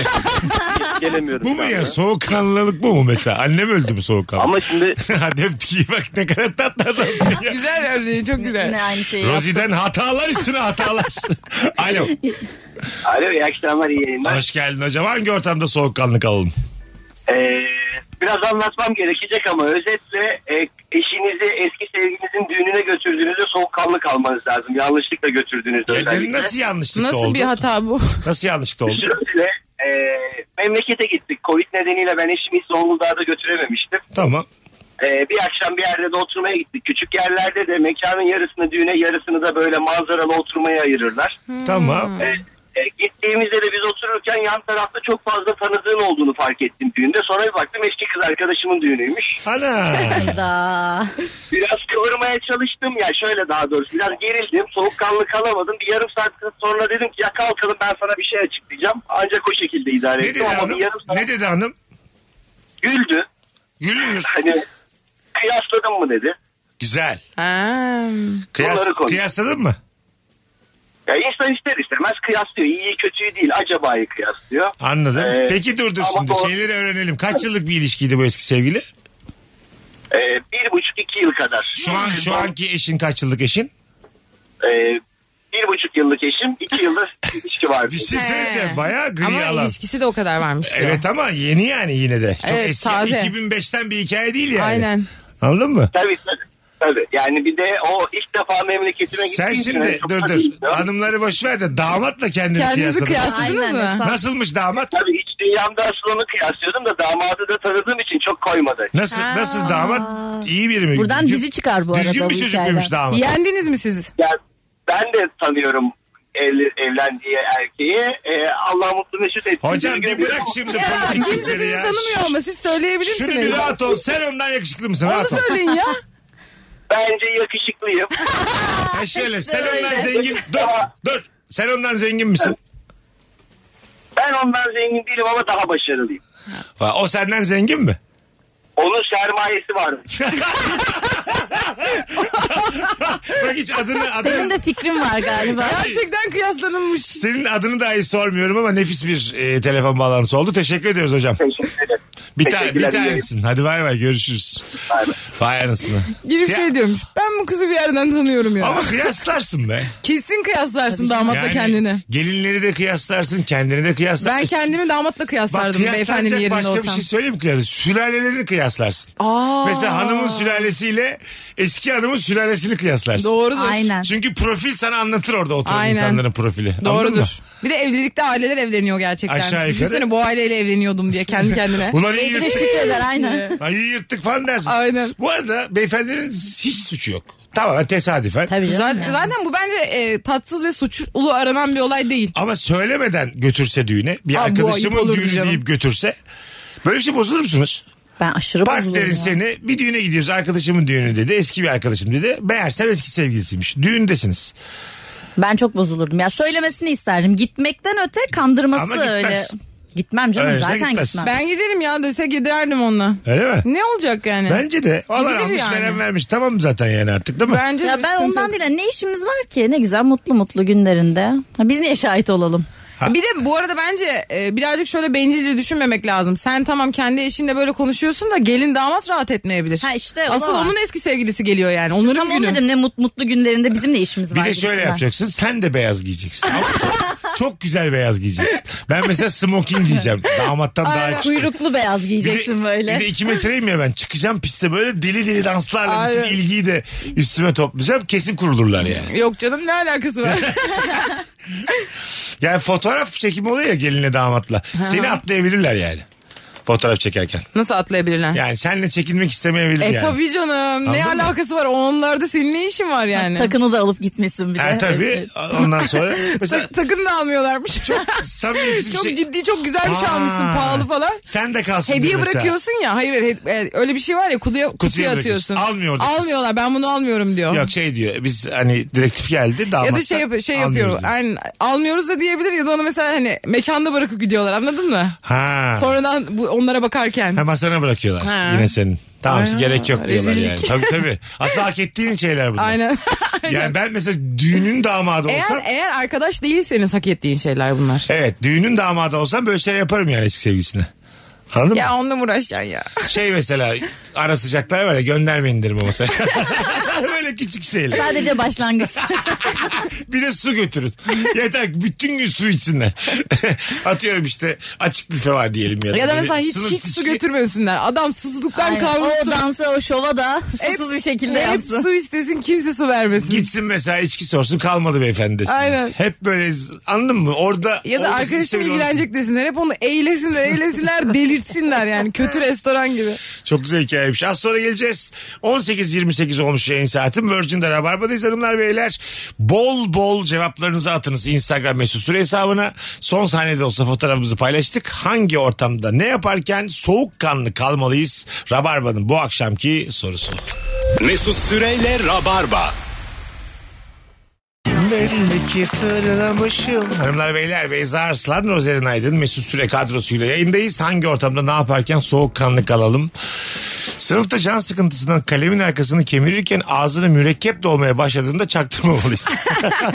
S6: gelemiyorum.
S1: Bu mu
S6: şu
S1: ya?
S6: anda.
S1: Soğukkanlılık bu mu mesela? Annem öldü mü soğukkanlı?
S6: Ama şimdi
S1: Hadi öptük iyi bak ne kadar tatlı adamsın ya.
S3: güzel örneği çok
S2: Yine
S3: güzel.
S2: aynı şeyi yaptım.
S1: Rozi'den hatalar üstüne hatalar. Alo.
S8: Alo iyi akşamlar iyi yayınlar.
S1: Hoş geldin hocam. Hangi ortamda soğukkanlı kalalım?
S8: Ee, biraz anlatmam gerekecek ama özetle e, eşinizi eski sevginizin düğününe götürdüğünüzde soğukkanlı kalmanız lazım. Yanlışlıkla götürdüğünüzde
S1: Dedim
S8: özellikle.
S1: E, nasıl yanlışlıkla
S3: Nasıl
S1: oldu?
S3: bir hata bu?
S1: Nasıl yanlışlıkla oldu?
S8: Şöyle, e, memlekete gittik. Covid nedeniyle ben eşimi hiç Zonguldak'a götürememiştim.
S1: tamam.
S8: E, bir akşam bir yerde de oturmaya gittik. Küçük yerlerde de mekanın yarısını düğüne yarısını da böyle manzaralı oturmaya ayırırlar.
S1: Hmm.
S3: Hmm.
S1: Tamam.
S8: E, e, gittiğimizde de biz otururken yan tarafta çok fazla tanıdığın olduğunu fark ettim düğünde. Sonra bir baktım eski kız arkadaşımın düğünüymüş.
S1: Ana.
S2: Hayda.
S8: Biraz kıvırmaya çalıştım ya şöyle daha doğrusu biraz gerildim soğukkanlı kalamadım bir yarım saat sonra dedim ki ya kalkalım ben sana bir şey açıklayacağım ancak o şekilde idare
S1: ne dedi
S8: ettim ama
S1: hanım?
S8: bir yarım saat
S1: Ne dedi hanım?
S8: güldü
S1: Gülmüyor.
S8: hani kıyasladın mı dedi.
S1: Güzel.
S3: Ha.
S1: Kıyas,
S8: Bunları koy.
S1: kıyasladın mı?
S8: Ya insan ister istemez kıyaslıyor iyiyi kötüyü değil acaba'yı kıyaslıyor.
S1: Anladım.
S8: Ee,
S1: Peki dur dur
S8: ama
S1: şimdi.
S8: o-
S1: Şeyleri öğrenelim. Kaç yıllık bir ilişkiydi bu eski sevgili?
S8: Ee, bir buçuk iki yıl kadar.
S1: Şu an şu anki eşin kaç yıllık eşin?
S8: Ee, bir buçuk yıllık eşim iki yılda ilişki vardı.
S1: Bir şey söyleyeceğim.
S3: He.
S1: Bayağı gri
S3: Ama
S1: alan.
S3: ilişkisi de o kadar varmış. diyor.
S1: Evet ama yeni yani yine de. Çok
S3: Evet,
S1: eski.
S3: taze.
S1: 2005'ten bir hikaye değil yani.
S3: Aynen.
S1: Anladın mı?
S8: Tabii tabii. Tabii. Yani bir de o ilk defa memleketime gittiğim
S1: Sen
S8: için
S1: şimdi
S8: çok
S1: dur
S8: da
S6: şey.
S1: dur.
S8: bilmiyorum.
S1: Hanımları boş ver de damatla kendini
S3: Kendinizi
S1: kıyasladın.
S3: kıyasladınız
S2: Aynen,
S3: mı?
S2: hesap-
S1: Nasılmış damat?
S8: Tabii iç dünyamda aslında onu kıyaslıyordum da damadı da tanıdığım için çok koymadı.
S1: Nasıl
S2: Ha.
S1: nasıl damat? İyi biri mi?
S2: Buradan
S1: Düzgün-
S2: dizi çıkar bu arada
S1: Düzgün
S2: bu
S1: bir çocuk
S2: hikayeden.
S1: muymuş damat?
S3: Yendiniz mi siz?
S8: Yani ben de tanıyorum ev- evlendiği erkeği e, Allah mutlu mesut etsin.
S1: Hocam bir bırak şimdi politik
S3: Kimse
S1: fikirleri
S3: sizi
S1: ya.
S3: tanımıyor ama siz söyleyebilirsiniz.
S1: Şunu bir rahat ol. Sen ondan yakışıklı mısın?
S3: Onu
S1: rahat ol.
S3: söyleyin ya.
S8: Bence yakışıklıyım.
S1: Ha şöyle sen
S8: öyle.
S1: ondan zengin. Dur dur. Sen ondan zengin misin?
S8: ben ondan zengin değilim ama daha başarılıyım.
S1: Ha, O senden zengin mi?
S8: Onun sermayesi var.
S1: Bak hiç adını adını
S2: Senin
S1: senin,
S2: de fikrin var galiba.
S3: Gerçekten kıyaslanılmış.
S1: adını dahi sormuyorum ama nefis bir e, telefon bağlantısı oldu. Teşekkür ediyoruz hocam.
S8: Teşekkür ederim.
S1: Bir tane bir
S8: Teşekkürler, iyi
S1: tanesin. Hadi bay bay görüşürüz. Vay anasını.
S3: Girip
S1: Ya-
S3: şey diyormuş. Ben bu kızı bir yerden tanıyorum ya.
S1: Ama kıyaslarsın be.
S3: Kesin kıyaslarsın damatla
S1: Yani
S3: kendini.
S1: Gelinleri de kıyaslarsın, kendini de kıyaslarsın.
S3: Ben kendimi damatla
S1: Bak
S3: kıyaslardım beyefendinin
S1: kıyaslanacak
S3: yerinde
S1: başka bir
S3: olsam.
S1: şey söyleyeyim mi kıyasla? Sülalelerini kıyaslarsın.
S3: Aa,
S1: Mesela hanımın sülalesiyle eski hanımın sülalesini kıyaslarsın.
S3: doğrudur.
S2: Aynen.
S1: Çünkü profil sana anlatır orada oturan
S3: Aynen.
S1: insanların profili. Anladın mı?
S3: Doğrudur. Bir de evlilikte aileler evleniyor gerçekten.
S1: Aşağı yukarı.
S3: Düşünsene bu aileyle evleniyordum diye kendi kendine.
S1: Ulan iyi
S2: Belki de
S1: yırttık.
S2: şükreder aynen.
S1: Ay iyi yırttık falan dersin.
S3: Aynen.
S1: Bu arada beyefendinin hiç suçu yok. Tamamen tesadüfen.
S2: Tabii canım.
S3: Zaten,
S2: ya.
S3: zaten bu bence e, tatsız ve suçlu aranan bir olay değil.
S1: Ama söylemeden götürse düğüne bir
S3: Aa, bu ayıp
S1: arkadaşımın
S3: olurdu
S1: düğünü
S3: canım.
S1: deyip götürse böyle bir şey bozulur musunuz?
S2: Ben aşırı bozuluyorum
S1: Partnerin
S2: ya.
S1: seni bir düğüne gidiyoruz arkadaşımın düğünü dedi eski bir arkadaşım dedi. Meğerse eski sevgilisiymiş. Düğündesiniz.
S2: Ben çok bozulurdum. Ya söylemesini isterdim. Gitmekten öte kandırması
S1: Ama gitmez.
S2: öyle. Gitmem canım
S1: Öyle sen
S2: zaten
S1: gitmez.
S2: gitmem.
S3: Ben giderim ya dese giderdim onunla.
S1: Öyle mi?
S3: Ne olacak yani?
S1: Bence de. Alan
S3: Gidilir
S1: almış
S3: yani.
S1: veren vermiş. Tamam zaten yani artık değil mi?
S3: Bence de
S2: Ya
S3: bir
S2: ben
S3: sıkıntı yok.
S2: ondan değil. hani Ne işimiz var ki? Ne güzel mutlu mutlu günlerinde. Ha, biz niye şahit olalım?
S1: Ha.
S3: Bir de bu arada bence e, birazcık şöyle bencilce düşünmemek lazım. Sen tamam kendi eşinle böyle konuşuyorsun da gelin damat rahat etmeyebilir.
S2: Ha işte o da
S3: Asıl
S2: var.
S3: onun eski sevgilisi geliyor yani. Onların
S2: Tam onu
S3: günü.
S2: dedim ne mut- mutlu günlerinde bizim ne işimiz
S1: Bir
S2: var?
S1: de şöyle
S2: gibisinden.
S1: yapacaksın. Sen de beyaz giyeceksin. Ama çok, çok güzel beyaz giyeceksin. Ben mesela smoking giyeceğim. Damattan daha küçük.
S2: Kuyruklu beyaz
S1: Bir de-
S2: giyeceksin böyle.
S1: Bir de iki metreyim ya ben. Çıkacağım piste böyle deli deli danslarla bütün ilgiyi de üstüme toplayacağım. Kesin kurulurlar yani.
S3: Yok canım ne alakası var?
S1: Yani fotoğraf çekimi oluyor ya gelinle damatla. Seni atlayabilirler yani. Fotoğraf çekerken.
S3: Nasıl atlayabilirler?
S1: Yani senle çekilmek istemeyebilir
S3: e
S1: yani.
S3: tabii canım. ne
S1: Anladın mı?
S3: alakası var? Onlarda senin ne işin var yani?
S2: Takını da alıp gitmesin bir de.
S1: Ha, tabii.
S2: Evet.
S1: Ondan sonra mesela
S3: Tak- takın da almıyorlarmış. Çok,
S1: samimiyetsiz bir şey.
S3: ciddi çok güzel bir şey
S1: Aa.
S3: almışsın pahalı falan.
S1: Sen de kalsın
S3: Hediye
S1: diyor mesela.
S3: bırakıyorsun ya. Hayır hayır, he- e, öyle bir şey var ya kutuya, kutuya,
S1: bırakıyorsun.
S3: atıyorsun.
S1: Almıyor da kız.
S3: Almıyorlar ben bunu almıyorum diyor.
S1: Yok şey diyor biz hani direktif geldi damat
S3: ya da şey, yap- şey yapıyor. Aynen, almıyoruz da diyebilir ya da onu mesela hani mekanda bırakıp gidiyorlar anladın mı?
S1: Ha.
S3: Sonradan bu, onlara bakarken.
S1: Hem sana bırakıyorlar
S3: Ha.
S1: yine senin. Tamam
S3: Ay,
S1: gerek yok diyorlar
S3: rezillik.
S1: yani. Tabii tabii. Aslında hak ettiğin şeyler bunlar.
S3: Aynen.
S1: Yani ben mesela düğünün damadı olsam.
S3: eğer, e- eğer arkadaş değilseniz hak ettiğin şeyler bunlar.
S1: Evet düğünün damadı olsam böyle şeyler yaparım yani eski sevgilisine. Anladın mı?
S3: Ya onunla mı uğraşacaksın ya?
S1: Şey mesela ara sıcaklar var ya göndermeyin derim o masaya. böyle küçük şeyler.
S2: Sadece başlangıç.
S1: Bir de su götürün. Yeter ki bütün gün su içsinler. Atıyorum işte açık büfe var diyelim ya.
S3: Ya da
S1: Böyle
S3: mesela hiç
S1: sınırsız
S3: hiç su
S1: içki.
S3: götürmesinler. Adam susuzluktan
S2: Aynen.
S3: kavrulsun.
S2: O dansa o şova da susuz bir şekilde
S3: Hep
S2: yapsın.
S3: su istesin kimse su vermesin.
S1: Gitsin mesela içki sorsun kalmadı beyefendi desin.
S3: Aynen.
S1: Hep böyle anladın mı? Orada
S3: Ya da
S1: orada
S3: arkadaşım
S1: sistemi
S3: ilgilenecek desinler. Hep onu eğlesinler eğlesinler delirtsinler yani. Kötü restoran gibi.
S1: olsun. Çok güzel hikayeymiş. Az sonra geleceğiz. 18.28 olmuş yayın saatim. Virgin'de Rabarba'dayız hanımlar beyler. Bol bol cevaplarınızı atınız Instagram mesut süre hesabına. Son saniyede olsa fotoğrafımızı paylaştık. Hangi ortamda ne yaparken soğukkanlı kalmalıyız? Rabarba'nın bu akşamki sorusu.
S9: Mesut Süreyle Rabarba.
S1: Belli ki tırlamışım. Hanımlar beyler Beyza Arslan, Rozerin Aydın, Mesut Süre kadrosuyla yayındayız. Hangi ortamda ne yaparken soğukkanlı kalalım? Sınıfta can sıkıntısından kalemin arkasını kemirirken ağzını mürekkep dolmaya başladığında çaktırmamalıyız.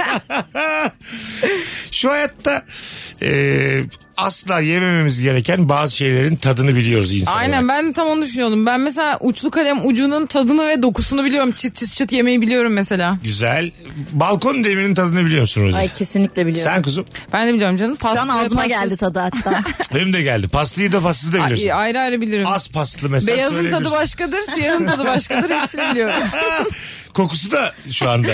S1: Şu hayatta e, asla yemememiz gereken bazı şeylerin tadını biliyoruz insanlar.
S3: Aynen ben de tam onu düşünüyordum. Ben mesela uçlu kalem ucunun tadını ve dokusunu biliyorum. Çıt çıt çıt yemeyi biliyorum mesela.
S1: Güzel. Balkon demirinin tadını biliyorsun Rozerin.
S2: Ay kesinlikle biliyorum.
S1: Sen kuzum.
S3: Ben de biliyorum canım. Pasta,
S2: Şu an ağzıma
S3: pastas-
S2: geldi tadı hatta.
S1: Benim de geldi. Paslıyı da paslı da biliyorsun.
S3: Ay- ayrı ayrı bilirim.
S1: Az paslı mesela.
S3: Beyazın tadı
S1: söyleyebilirsin.
S3: başkadır, siyahın tadı başkadır. Hepsini biliyorum.
S1: Kokusu da şu anda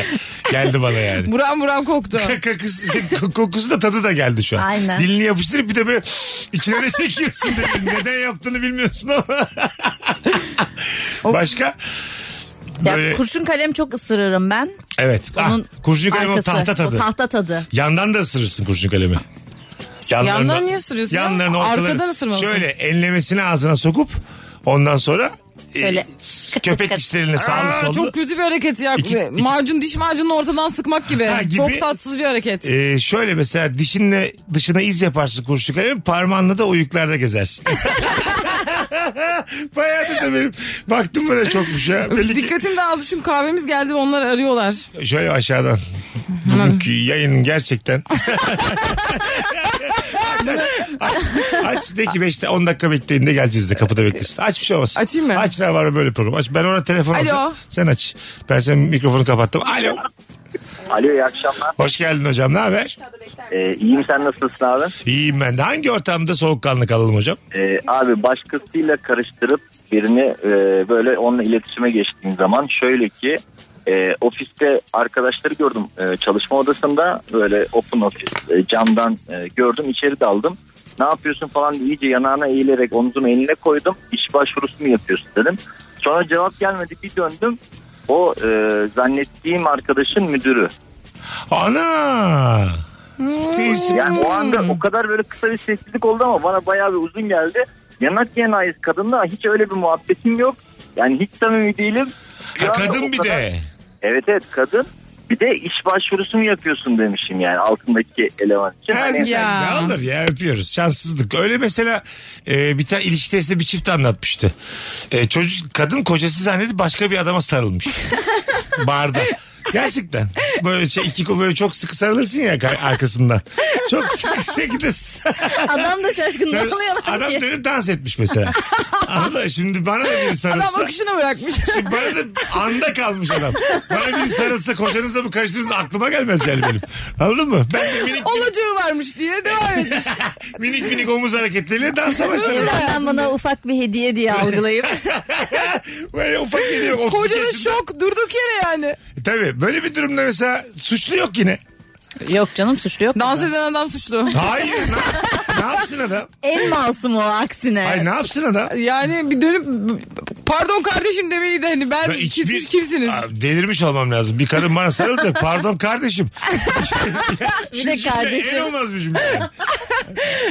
S1: geldi bana yani.
S3: Buram buram koktu.
S1: Kokusu, kokusu da tadı da geldi şu an.
S2: Aynen.
S1: Dilini yapıştırıp bir de böyle içine de çekiyorsun. dedim. Neden yaptığını bilmiyorsun ama. Başka?
S2: Ya
S1: Böyle-
S2: kurşun kalem çok ısırırım ben.
S1: Evet. Ah,
S2: Onun
S1: kurşun kalemi o
S2: arkası,
S1: tahta tadı.
S2: O tahta tadı.
S1: Yandan da ısırırsın kurşun kalemi.
S3: Yandan niye ısırıyorsun ya?
S1: Yanlarını ortalarını.
S3: Arkadan ısırmalısın.
S1: Şöyle enlemesini ağzına sokup ondan sonra e,
S3: Böyle
S1: s- köpek dişleriyle sağlı
S3: Aa,
S1: sollu.
S3: çok kötü bir hareket ya. Macun diş macununu ortadan sıkmak gibi.
S1: gibi.
S3: Çok tatsız bir hareket.
S1: E, şöyle mesela dişinle dışına iz yaparsın kurşun kalemi parmağınla da uyuklarda gezersin. Bayağı da benim baktım böyle çokmuş ya. Belli ki-
S3: Dikkatim dağıldı çünkü kahvemiz geldi ve onlar arıyorlar.
S1: Şöyle aşağıdan. Bugünkü yayının gerçekten aç de ki 5'te 10 dakika bekleyin de geleceğiz de kapıda beklesin. Aç bir şey olmaz. Açayım mı? Aç ne var böyle program. Aç ben ona telefon
S3: Alo.
S1: alacağım. Sen aç. Ben senin mikrofonu kapattım. Alo.
S10: Alo iyi akşamlar.
S1: Hoş geldin hocam ne haber?
S10: E, iyiyim sen nasılsın abi?
S1: İyiyim ben de. Hangi ortamda soğukkanlı kalalım hocam?
S10: Ee, abi başkasıyla karıştırıp birini e, böyle onunla iletişime geçtiğim zaman şöyle ki e, ofiste arkadaşları gördüm e, çalışma odasında böyle open office e, camdan e, gördüm içeri daldım. Ne yapıyorsun falan diye iyice yanağına eğilerek omzumu eline koydum. İş başvurusu mu yapıyorsun dedim. Sonra cevap gelmedi bir döndüm. O e, zannettiğim arkadaşın müdürü.
S1: Ana.
S10: Yani o anda o kadar böyle kısa bir sessizlik oldu ama bana bayağı bir uzun geldi. Yanak yanayız kadınla hiç öyle bir muhabbetim yok. Yani hiç samimi değilim. Bir anda o
S1: kadın bir
S10: kadar-
S1: de.
S10: Evet evet kadın. Bir de iş başvurusu mu yapıyorsun demişim yani altındaki eleman için.
S1: Ha,
S10: Hani-
S1: güzel. Ya. olur ya öpüyoruz. Şanssızlık. Öyle mesela e, bir tane ilişki testi bir çift anlatmıştı. E, çocuk kadın kocası zannedip başka bir adama sarılmış. Barda. Gerçekten. Böyle şey iki böyle çok sıkı sarılırsın ya kar- arkasından. Çok sıkı şekilde.
S2: Adam da şaşkın, ne
S1: Şöyle
S2: oluyor lan
S1: Adam
S2: diye.
S1: dönüp dans etmiş mesela. Anladın mı? Şimdi bana da biri sarılsa.
S3: Adam bakışını bırakmış.
S1: Şimdi bana da anda kalmış adam. Bana biri sarılsa kocanızla mı karıştırırsa aklıma gelmez yani benim. Anladın mı? Ben de minik
S3: Olacağı varmış diye devam etmiş.
S1: minik minik omuz hareketleriyle dansa başlarım.
S2: Ben bana ufak bir hediye diye algılayıp.
S1: Böyle ufak geliyor. otuz
S3: Kocanın
S1: yaşında.
S3: şok durduk yere yani.
S1: E, Tabii böyle bir durumda mesela suçlu yok yine.
S2: Yok canım suçlu yok.
S3: Dans eden adam suçlu.
S1: Hayır. ne, ne yapsın adam?
S2: en masum o aksine.
S1: Ay ne yapsın adam?
S3: Yani bir dönüp pardon kardeşim demeyi de hani ben,
S1: Ben hiçbir-
S3: siz kimsiniz?
S1: Aa, Delirmiş olmam lazım. Bir kadın bana sarılacak. Pardon kardeşim.
S2: Bir de
S1: En
S2: kardeşim.
S1: olmaz bir cümle. ne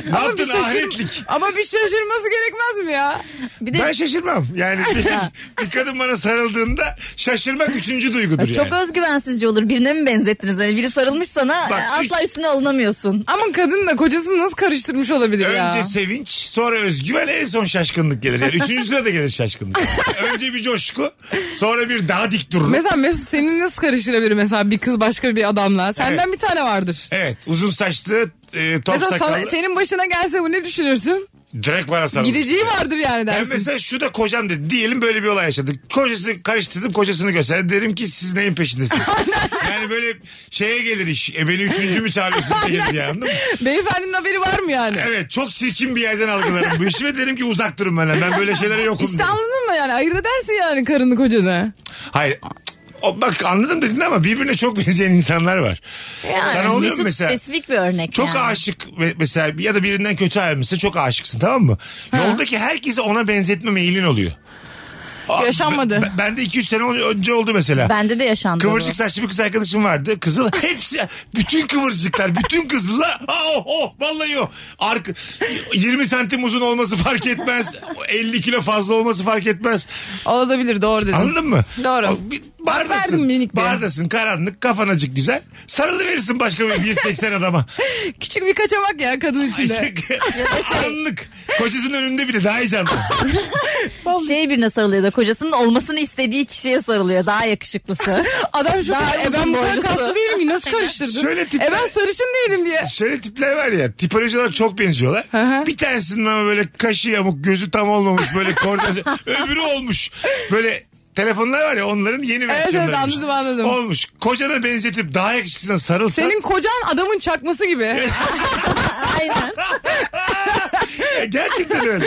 S3: Ama
S1: yaptın
S3: bir şey şaşır-
S1: ahiretlik?
S3: Ama bir şaşırması gerekmez mi ya?
S2: Bir de
S1: Ben şaşırmam. Yani bir, bir kadın bana sarıldığında şaşırmak üçüncü duygudur yani.
S2: çok özgüvensizce olur. Birine mi benzettiniz? Hani biri sarılmış sana
S1: Bak,
S2: e, asla üstüne alınamıyorsun.
S3: Ama kadın da kocasını nasıl karıştırmış olabilir ya?
S1: Önce sevinç, sonra özgüven, en son şaşkınlık gelir. Yani üçüncüsüne de gelir şaşkınlık. Önce bir coşku, sonra bir daha dik durur.
S3: Mesela Mesut senin nasıl karıştırabilir mesela bir kız başka bir adamla? Senden bir tane vardır.
S1: Evet, uzun saçlı, e, top
S3: Mesela sana-
S1: E, sakallı.
S3: senin başına gelse bu ne düşünürsün?
S1: Direkt bana sarılır.
S3: Gideceği vardır yani
S1: Ben
S3: dersin.
S1: mesela şu da kocam dedi. Diyelim böyle bir olay yaşadık. Kocası karıştırdım kocasını gösterdi. Derim ki siz neyin peşindesiniz? yani böyle şeye gelir iş. E beni üçüncü mü çağırıyorsunuz diye gelir yani anladın mı?
S3: Beyefendinin haberi var mı yani?
S1: Evet çok çirkin bir yerden algılarım bu işi ve derim ki uzak durun benden. Ben böyle şeylere yokum.
S3: İşte
S1: derim.
S3: anladın mı yani? Ayırt edersin yani karını kocanı.
S1: Hayır. O, bak anladım dedin ama birbirine çok benzeyen insanlar var. Sana oluyor mu
S2: Mesut
S1: mesela?
S2: spesifik bir örnek
S1: Çok
S2: yani.
S1: aşık ve- mesela ya da birinden kötü ayrılmışsın çok aşıksın tamam mı? Yoldaki herkese ona benzetme meylin oluyor. Aa,
S3: Yaşanmadı.
S1: Ben, ben de 2-3 sene önce oldu mesela.
S2: Bende de yaşandı
S1: Kıvırcık
S2: bu.
S1: saçlı bir kız arkadaşım vardı. Kızıl hepsi bütün kıvırcıklar bütün kızıllar. Ha oh, oh vallahi o. Arka, 20 santim uzun olması fark etmez. 50 kilo fazla olması fark etmez.
S3: Olabilir doğru dedin.
S1: Anladın mı?
S3: Doğru.
S1: O Bir bardasın.
S3: verdim minik bir.
S1: Bardasın karanlık kafanacık güzel. Sarılı verirsin başka bir 180 adama.
S3: Küçük bir kaçamak ya şey- kadın içinde.
S1: Karanlık. Kocasının önünde bile daha heyecanlı.
S2: Şey birine sarılıyor da kocasının olmasını istediği kişiye sarılıyor. Daha yakışıklısı.
S3: Adam şu
S2: Daha
S3: kadar e ben
S2: uzun
S3: bu kadar
S2: boylusu.
S3: kaslı değilim ki nasıl karıştırdın?
S1: Şöyle tipler-
S3: E ben sarışın değilim diye.
S1: Şöyle tipler var ya tipoloji olarak çok benziyorlar.
S3: hı.
S1: bir tanesinin ama böyle kaşı yamuk gözü tam olmamış böyle koordinasyon. Öbürü olmuş. Böyle telefonlar var ya onların yeni
S3: evet,
S1: versiyonları.
S3: anladım, anladım.
S1: Olmuş. Kocana benzetip daha yakışıklısına sarılsan.
S3: Senin kocan adamın çakması gibi.
S2: Aynen.
S1: E, Gerçekten öyle.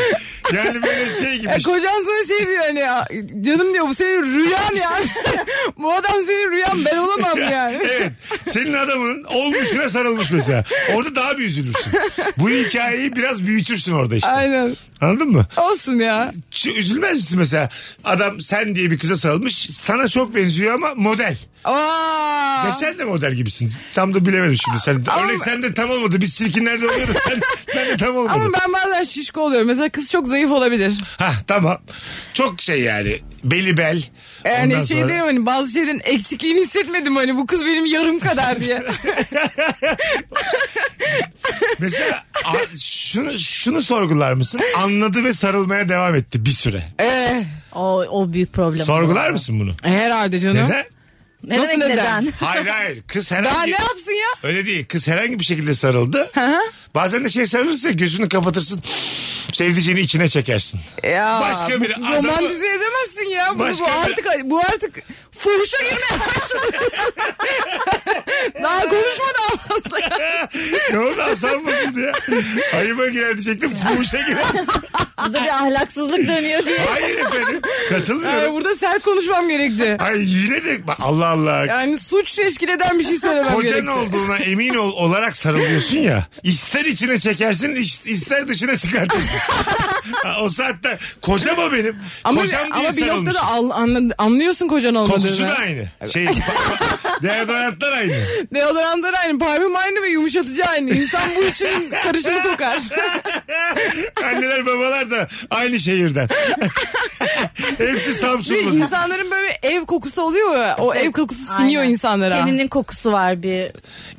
S1: Yani böyle şey gibi.
S3: E, kocan sana şey diyor hani "Ya, canım diyor bu senin rüyan yani. bu adam senin rüyan ben olamam yani.
S1: evet. Senin adamın olmuşuna sarılmış mesela. Orada daha bir üzülürsün. Bu hikayeyi biraz büyütürsün orada işte.
S3: Aynen.
S1: Anladın mı?
S3: Olsun ya.
S1: Şu üzülmez misin mesela? Adam sen diye bir kıza sarılmış. Sana çok benziyor ama model.
S3: Aa.
S1: Ve sen de model gibisin. Tam da bilemedim şimdi. Sen,
S3: Ama-
S1: örnek sen de tam olmadı. Biz çirkinlerde oluyoruz. Sen, sen de tam olmadı.
S3: Ama ben bazen şişko oluyorum. Mesela kız çok zayıf olabilir.
S1: Ha tamam. Çok şey yani. Beli bel.
S3: Yani
S1: Ondan
S3: şey
S1: sonra-
S3: derim hani bazı şeylerin eksikliğini hissetmedim hani bu kız benim yarım kadar diye.
S1: Mesela a- şunu, şunu sorgular mısın? Anladı ve sarılmaya devam etti bir süre.
S3: Ee,
S2: O, o büyük problem.
S1: Sorgular mısın bunu?
S3: herhalde canım.
S1: Neden?
S2: Ne
S3: Nasıl
S2: demek
S3: neden?
S2: neden?
S1: Hayır hayır. Kız
S3: Daha
S1: herhangi...
S3: ne yapsın ya?
S1: Öyle değil. Kız herhangi bir şekilde sarıldı.
S3: Hı hı.
S1: Bazen de şey sarılırsa gözünü kapatırsın. Sevdiceğini içine çekersin.
S3: Ya,
S1: Başka bir
S3: bu-
S1: adamı-
S3: romantize edemezsin ya. Bunu,
S1: Başka
S3: bu
S1: bir-
S3: artık bu artık fuhuşa girmeye başladı. Daha konuşma daha fazla.
S1: ne oldu Hasan bozuldu ya? Ayıba girer diyecektim. Fuhuşa girer.
S2: Burada bir ahlaksızlık dönüyor diye.
S1: Hayır efendim.
S3: Yani
S1: Katılmıyorum.
S3: burada sert konuşmam gerekti.
S1: Ay yine de Bak, Allah Allah.
S3: Yani suç teşkil eden bir şey söylemem
S1: Kocan
S3: gerekti.
S1: olduğuna emin ol, olarak sarılıyorsun ya. İster içine çekersin, is- ister dışına çıkartırsın. Ha, o saatte kocam o benim.
S3: Ama,
S1: kocam diye
S3: ama bir
S1: sarılmış.
S3: noktada al- anla- anlıyorsun kocan olmadığını.
S1: Kokusu da aynı. Şey, deodorantlar aynı.
S3: Deodorantlar aynı, parfüm aynı ve yumuşatıcı aynı. İnsan bu için karışımı kokar.
S1: Anneler babalar da aynı şehirden. Hepsi
S3: Ve
S1: Samsunlu.
S3: insanların böyle ev kokusu oluyor ya. O ev kokusu siniyor
S2: Aynen.
S3: insanlara.
S2: Teninin kokusu var bir.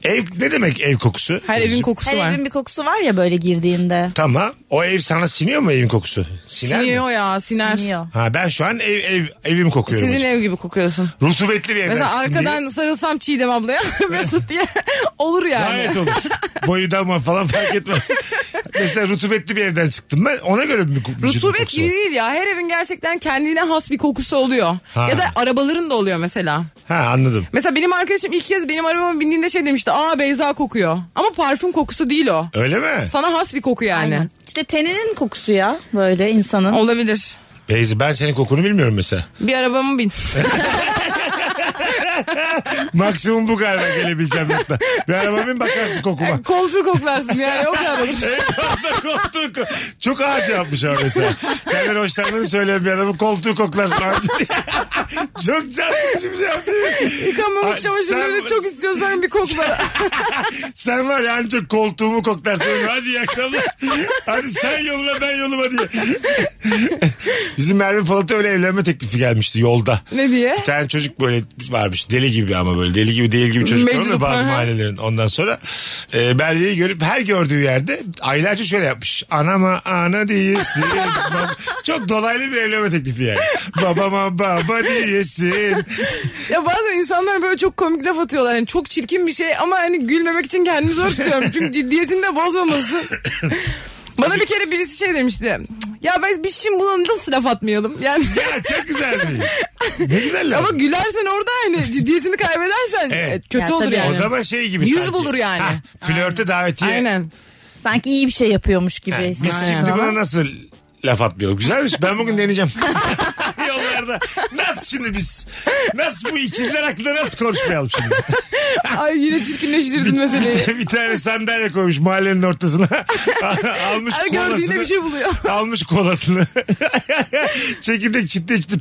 S1: Ev ne demek ev kokusu?
S3: Her evin kokusu
S2: Her
S3: var.
S2: evin bir kokusu var ya böyle girdiğinde.
S1: Tamam. O ev sana siniyor mu evin kokusu? Siner mi?
S3: Siniyor ya siner.
S2: Siniyor.
S1: Ha ben şu an ev ev evim kokuyorum.
S3: Sizin
S1: hocam.
S3: ev gibi kokuyorsun.
S1: Rutubetli bir evden
S3: Mesela
S1: çıktım
S3: arkadan
S1: diye.
S3: sarılsam Çiğdem ablaya Mesut diye olur yani.
S1: Gayet olur. Boyu dama falan fark etmez. Mesela rutubetli bir evden çıktım ben. Ona göre bir kokusu.
S3: Rutubet gibi değil ya. Her evin gerçekten kendine has bir kokusu oluyor.
S1: Ha.
S3: Ya da arabaların da oluyor mesela.
S1: Ha anladım.
S3: Mesela benim arkadaşım ilk kez benim arabama bindiğinde şey demişti. Aa Beyza kokuyor. Ama parfüm kokusu değil o.
S1: Öyle mi?
S3: Sana has bir koku yani.
S2: Aynen. İşte teninin kokusu ya böyle insanın.
S3: Olabilir.
S1: Beyzi ben senin kokunu bilmiyorum mesela.
S3: Bir arabamı bin.
S1: Maksimum bu galiba gelebileceğim nokta. Bir araba bin bakarsın kokuma.
S3: Koltuğu koklarsın yani o kadar olur.
S1: En fazla koltuğu ko- Çok ağaç yapmış abi mesela. Kendini hoşlandığını söyleyen bir adamın koltuğu koklarsın ağacı diye. Çok can sıkıcı bir şey abi, değil mi? Ha,
S3: Yıkanmamış çamaşırları
S1: sen-
S3: çok istiyorsan bir kokla.
S1: Sen var ya ancak koltuğumu koklarsın. Hadi iyi akşamlar. Hadi sen yoluna ben yoluma diye. Bizim Merve Polat'a öyle evlenme teklifi gelmişti yolda.
S3: ne diye?
S1: Bir tane çocuk böyle varmış deli gibi ama böyle deli gibi değil gibi çocuk var
S3: Meczup,
S1: mı bazı
S3: aha.
S1: mahallelerin. Ondan sonra e, Merve'yi görüp her gördüğü yerde aylarca şöyle yapmış. Anama ana diyesin. Bab- Çok dolaylı bir evlenme teklifi yani. Babama baba diyesin.
S3: Ya bazen insanlar böyle çok komik laf atıyorlar. Yani çok çirkin bir şey ama hani gülmemek için kendimi zor tutuyorum. Çünkü ciddiyetini de bozmaması. Bana bir kere birisi şey demişti. "Cık, Ya ben bir şeyim bulanı nasıl laf atmayalım? Yani
S1: Ya çok güzel değil. Ne güzel laf.
S3: ama gülersen orada hani ciddiyetini kaybedersen
S1: Evet.
S3: e, kötü
S2: Ya
S3: olur
S2: tabii.
S3: yani.
S1: O zaman şey gibi
S3: Yüz
S1: sanki.
S3: bulur yani.
S1: Hah, flörte davetiye.
S3: Aynen.
S2: Sanki iyi bir şey yapıyormuş gibi.
S1: Ha, biz
S2: hissediyorsun
S1: şimdi
S2: ama.
S1: buna nasıl laf atmayalım? Güzelmiş. Ben bugün deneyeceğim. Yollarda. Nasıl şimdi biz? Nasıl bu ikizler hakkında nasıl konuşmayalım şimdi?
S3: Ay yine çirkinleştirdin meseleyi.
S1: şey- bir tane sandalye koymuş mahallenin ortasına. almış
S3: Her gördüğünde
S1: kolasını.
S3: bir şey buluyor.
S1: Almış kolasını. Çekirdek çitle çitle.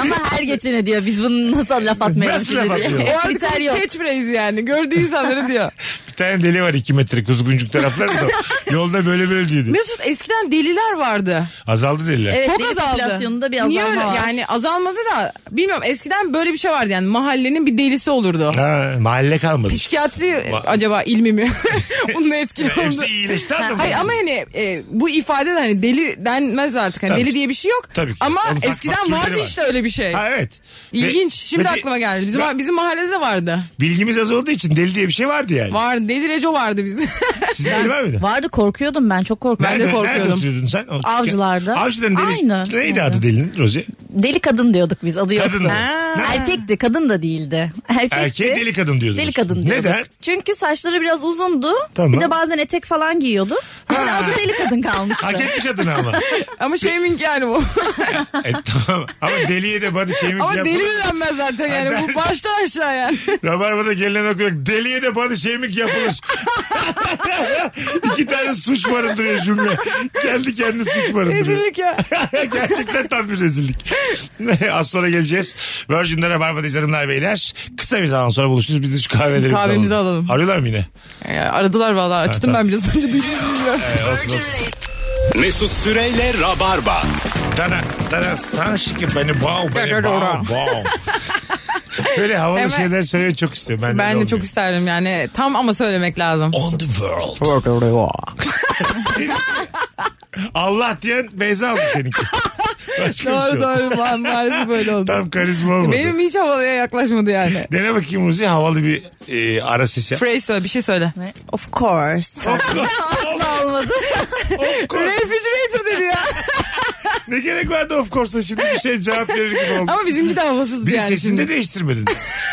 S2: Ama her geçene diyor biz bunu nasıl laf atmayalım
S1: Nasıl
S2: şimdi
S1: laf
S2: diye.
S1: atmayalım?
S3: O artık
S2: Kriter yok.
S3: catchphrase yani. Gördüğü insanları diyor.
S1: Bir tane deli var 2 metre kuzguncuk taraflarında. Yolda böyle böyle diyordu.
S3: Mesut eskiden deliler vardı.
S1: Azaldı deliler.
S2: Evet,
S3: Çok
S2: deli popülasyonunda
S3: azaldı.
S2: bir azalma
S3: Niye öyle?
S2: var.
S3: Yani azalmadı da bilmiyorum eskiden böyle bir şey vardı yani mahallenin bir delisi olurdu.
S1: Ha, mahalle kalmadı.
S3: Psikiyatri e,
S1: Ma-
S3: acaba ilmi mi? Bununla etkili oldu.
S1: Hepsi iyileşti anladın mı?
S3: Hayır ama hani e, bu ifade de hani deli denmez artık. Hani
S1: Tabii
S3: deli
S1: ki.
S3: diye bir şey yok.
S1: Tabii ki.
S3: Ama
S1: Onun ufak
S3: eskiden
S1: ufak
S3: vardı
S1: türleri var.
S3: işte öyle bir şey.
S1: Ha, evet.
S3: İlginç.
S1: Ve-
S3: Şimdi
S1: ve-
S3: aklıma geldi. Bizim
S1: Ve-
S3: bizim mahallede de vardı.
S1: Bilgimiz az olduğu için deli diye bir şey vardı yani.
S3: Vardı. Deli Reco vardı bizim.
S1: Sizde deli var mıydı?
S2: Vardı korkuyordum ben çok korkuyordum.
S3: Ben de
S1: Nerede-
S3: korkuyordum.
S1: Nerede oturuyordun sen? O-
S2: Avcılarda.
S1: Avcıların deli.
S2: Aynı.
S1: Neydi
S2: Nerede?
S1: adı delinin Rozi?
S2: Deli kadın diyorduk biz adı yoktu.
S1: Kadın da.
S2: Ha. Erkekti kadın da değildi. Erkekti.
S1: Erkeğe deli kadın diyordunuz.
S2: Deli kadın diyorduk.
S1: Neden?
S2: Çünkü saçları biraz uzundu.
S1: Tamam.
S2: Bir de bazen etek falan giyiyordu. Öyle adı deli kadın kalmıştı.
S1: Hak etmiş adını ama.
S3: Ama shaming yani bu.
S1: E, tamam. Ama deliye de body shaming
S3: Ama
S1: yap-
S3: deli mi denmez zaten yani. Bu baştan aşağı yani.
S1: Rabarba'da gelinen nokta yok. Deliye de body shaming yapılır. İki tane suç barındırıyor cümle. Kendi kendine suç barındırıyor.
S3: Rezillik ya.
S1: Gerçekten tam bir rezillik. Az sonra geleceğiz. Virgin'de Rabarba'dayız hanımlar beyler. Kısa bir zaman sonra buluşuruz. Bir de şu kahvelerimizi
S3: Kahvemizi alalım.
S1: Arıyorlar mı yine?
S3: aradılar vallahi açtım ben biraz önce duydunuz mu bilmiyorum.
S1: Ee, olsun olsun.
S9: Mesut Süreyle Rabarba.
S1: Dana, dana sana şıkı beni wow beni wow wow. Böyle havalı
S3: Hemen-
S1: şeyler söylüyor çok istiyorum. Ben,
S3: Ben de çok isterdim yani tam ama söylemek lazım.
S1: On the world. Allah diyen Beyza aldı seninki. Başka bir şey
S3: doğru
S1: oldu.
S3: doğru ma- maalesef böyle oldu.
S1: Tam karizma olmadı.
S3: Benim hiç havalıya yaklaşmadı yani.
S1: Dene bakayım Ruzi havalı bir e, ara sesi. yap.
S3: Phrase söyle bir şey söyle.
S2: Of course. Asla olmadı.
S3: Refrigerator dedi ya.
S1: ne gerek vardı of course'a şimdi bir şey cevap verir gibi oldu.
S3: Ama bizimki de havasızdı
S1: bir
S3: yani.
S1: sesini de
S3: şimdi.
S1: değiştirmedin.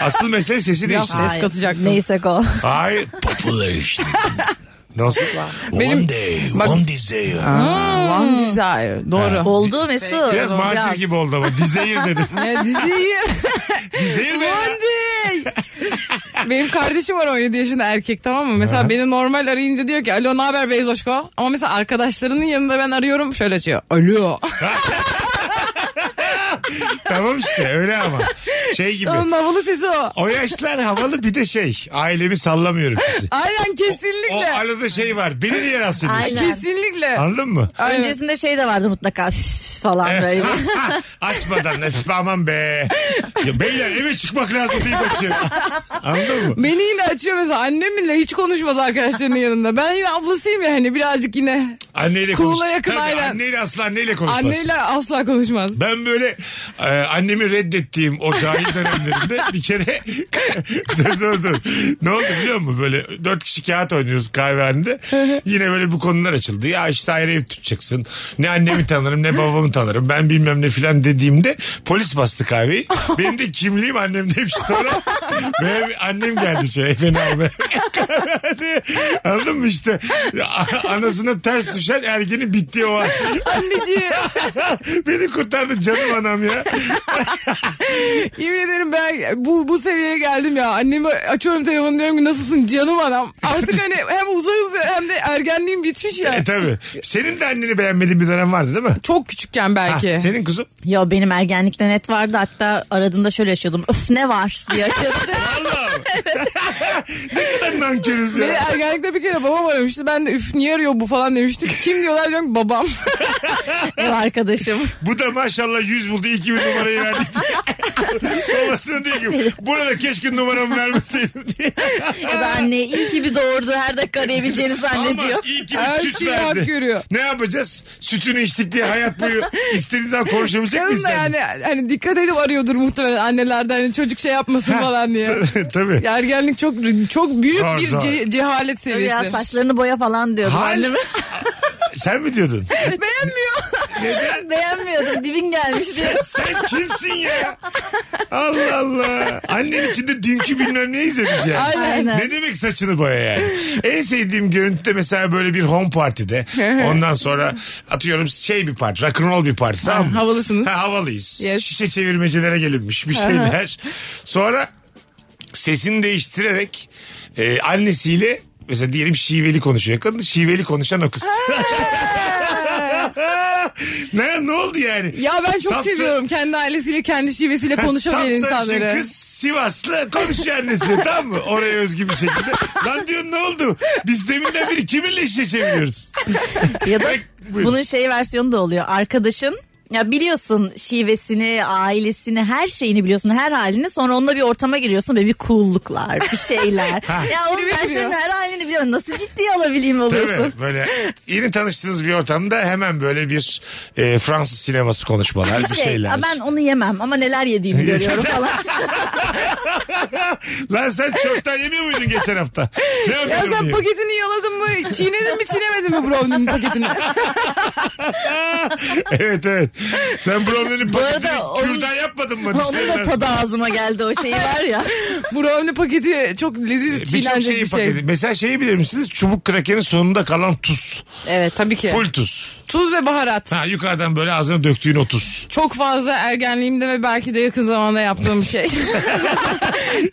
S1: Asıl mesele sesi
S3: Biraz
S1: değiştirmek.
S3: ses katacaktım.
S2: Neyse o.
S1: Hayır. Popular işte. Nasıl? One day, one desire.
S3: Aa, One Desire. Doğru.
S2: Oldu Mesut.
S1: Biraz macir gibi oldu ama. Desire dedim.
S3: Ne diziyi?
S1: desire be.
S3: One day. Benim kardeşim var 17 yaşında erkek tamam mı? Mesela beni normal arayınca diyor ki alo ne haber Beyzoşko? Ama mesela arkadaşlarının yanında ben arıyorum şöyle açıyor. Alo.
S1: tamam işte öyle ama. Şey gibi.
S3: Onun havalı sesi o.
S1: O yaşlar havalı bir de şey. Ailemi sallamıyorum sizi.
S3: Aynen
S1: O
S3: kesinlikle.
S1: arada şey var. Beni niye rahatsız ediyorsun?
S2: Aynen.
S3: Kesinlikle.
S1: Anladın mı?
S3: Aynen.
S2: Öncesinde şey de vardı mutlaka "Üf" falan böyle.
S1: Açmadan nefes aman be. Ya beyler eve çıkmak lazım deyip açıyor. Anladın mı?
S3: Beni yine açıyor mesela annem bile hiç konuşmaz arkadaşlarının yanında. Ben yine ablasıyım ya hani birazcık yine
S1: Anneyle
S3: Cool'a
S1: konuş.
S3: yakın,
S1: Tabii
S3: aynen.
S1: Anneyle asla anneyle konuşmaz.
S3: anneyle asla konuşmaz.
S1: Ben böyle e, annemi reddettiğim o cahil dönemlerinde bir kere dur dur dur. Ne oldu biliyor musun? Böyle dört kişi kağıt oynuyoruz kahvehanede. Yine böyle bu konular açıldı. Ya işte ayrı ev tutacaksın. Ne annemi tanırım ne babamı tanırım. Ben bilmem ne filan dediğimde polis bastı kahveyi. Benim de kimliğim annemdeymiş sonra. Benim annem geldi şey beni almaya. Kahvehaneye. Anladın mı işte? A- Anasına ters düşen ergenin bittiği o an.
S3: Anneciğim
S1: Beni kurtardı canım anam ya.
S3: yemin ederim ben bu, bu seviyeye geldim ya. Annemi açıyorum telefonu diyorum ki nasılsın canım anam. Artık hani hem uzağız hem de ergenliğim bitmiş ya.
S1: E tabi. Senin de anneni beğenmediğin bir dönem vardı değil mi?
S3: Çok küçükken
S1: Ha,
S3: belki.
S1: senin kuzum.
S2: Yo benim ergenlikte net vardı hatta aradığında şöyle yaşıyordum. Öf ne var diye yaşıyordum.
S1: Allah. ne kadar nankörüz
S3: Beni
S1: ya.
S3: ergenlikte bir kere babam aramıştı. Ben de üf niye arıyor bu falan demiştim. Kim diyorlar diyorum ki, babam.
S2: Ev arkadaşım.
S1: Bu da maşallah 100 buldu. 2000 numarayı verdik. Babasına diyor ki burada keşke numaramı vermeseydin diye.
S2: Ya da anne "E iyi ki bir doğurdu her dakika arayabileceğini
S1: Ama
S2: zannediyor.
S1: iyi ki
S3: Her
S1: bir süt
S3: şeyi hak
S1: verdi.
S3: görüyor.
S1: Ne yapacağız? Sütünü içtik diye hayat boyu istediğin zaman konuşabilecek
S3: Canım
S1: miyiz?
S3: da yani hani dikkat edip arıyordur muhtemelen annelerden hani çocuk şey yapmasın falan diye.
S1: Tabii.
S3: Ya Ergenlik çok çok büyük
S1: Zor,
S3: bir
S1: zor.
S3: ce- cehalet
S2: Ya
S3: seviyesi.
S2: saçlarını boya falan diyordum
S1: Hal-
S2: anneme.
S1: Sen mi diyordun?
S3: Beğenmiyor.
S1: Neden?
S2: Beğenmiyordum dibin gelmiş diye.
S1: Sen kimsin ya? Allah Allah. Annen içinde dünkü bilmem ne izlemiş yani.
S2: Aynen.
S1: Ne demek saçını boya yani? En sevdiğim görüntü de mesela böyle bir home partide. Ondan sonra atıyorum şey bir parti, rock'n'roll bir parti tamam mı?
S3: Ha, havalısınız.
S1: Ha, havalıyız.
S3: Yes.
S1: Şişe çevirmecelere gelinmiş bir şeyler. sonra sesini değiştirerek e, annesiyle mesela diyelim şiveli konuşuyor kadın. Şiveli konuşan o kız. ne, ne oldu yani?
S3: Ya ben çok
S1: Saf-
S3: seviyorum kendi ailesiyle kendi şivesiyle
S1: Ha,
S3: konuşamayan
S1: sapsarışın
S3: insanları.
S1: kız Sivaslı konuşuyor annesiyle tamam mı? Oraya özgü bir şekilde. Lan diyor ne oldu? Biz deminden beri kiminle işe çeviriyoruz?
S2: Ya da
S1: buyurun.
S2: bunun şey versiyonu da oluyor. Arkadaşın ya biliyorsun şivesini, ailesini, her şeyini biliyorsun, her halini. Sonra onunla bir ortama giriyorsun ve bir cool'luklar, bir şeyler. ya oğlum ben
S3: biliyor.
S2: senin her halini biliyorum. Nasıl ciddiye alabileyim oluyorsun?
S1: Tabii böyle yeni tanıştığınız bir ortamda hemen böyle bir e, Fransız sineması konuşmalar bir,
S2: Bir şey,
S1: şeyler. şey-
S2: "Aa, ben onu yemem ama neler yediğini görüyorum falan.
S1: Lan sen çoktan yemiyor muydun geçen hafta? Ne
S3: Ya
S1: yapıyorsun
S3: sen
S1: diye.
S3: paketini yaladın mı? Çiğnedin mi çiğnemedin mi brownie'nin paketini?
S1: evet evet. Sen brownie'nin
S2: Bu arada
S1: paketini
S2: onun-
S1: kürdan yapmadın mı?
S2: Onun da tadı ağzıma geldi o şeyi var ya.
S3: Brownie paketi çok leziz
S1: Birçok
S3: çiğnenecek
S1: şeyi
S3: bir şey.
S1: paketi. Mesela şeyi bilir misiniz? Çubuk krakenin sonunda kalan tuz.
S3: Evet tabii ki.
S1: Full tuz.
S3: Tuz ve baharat.
S1: Ha, yukarıdan böyle ağzına döktüğün o tuz.
S3: Çok fazla ergenliğimde ve belki de yakın zamanda yaptığım şey.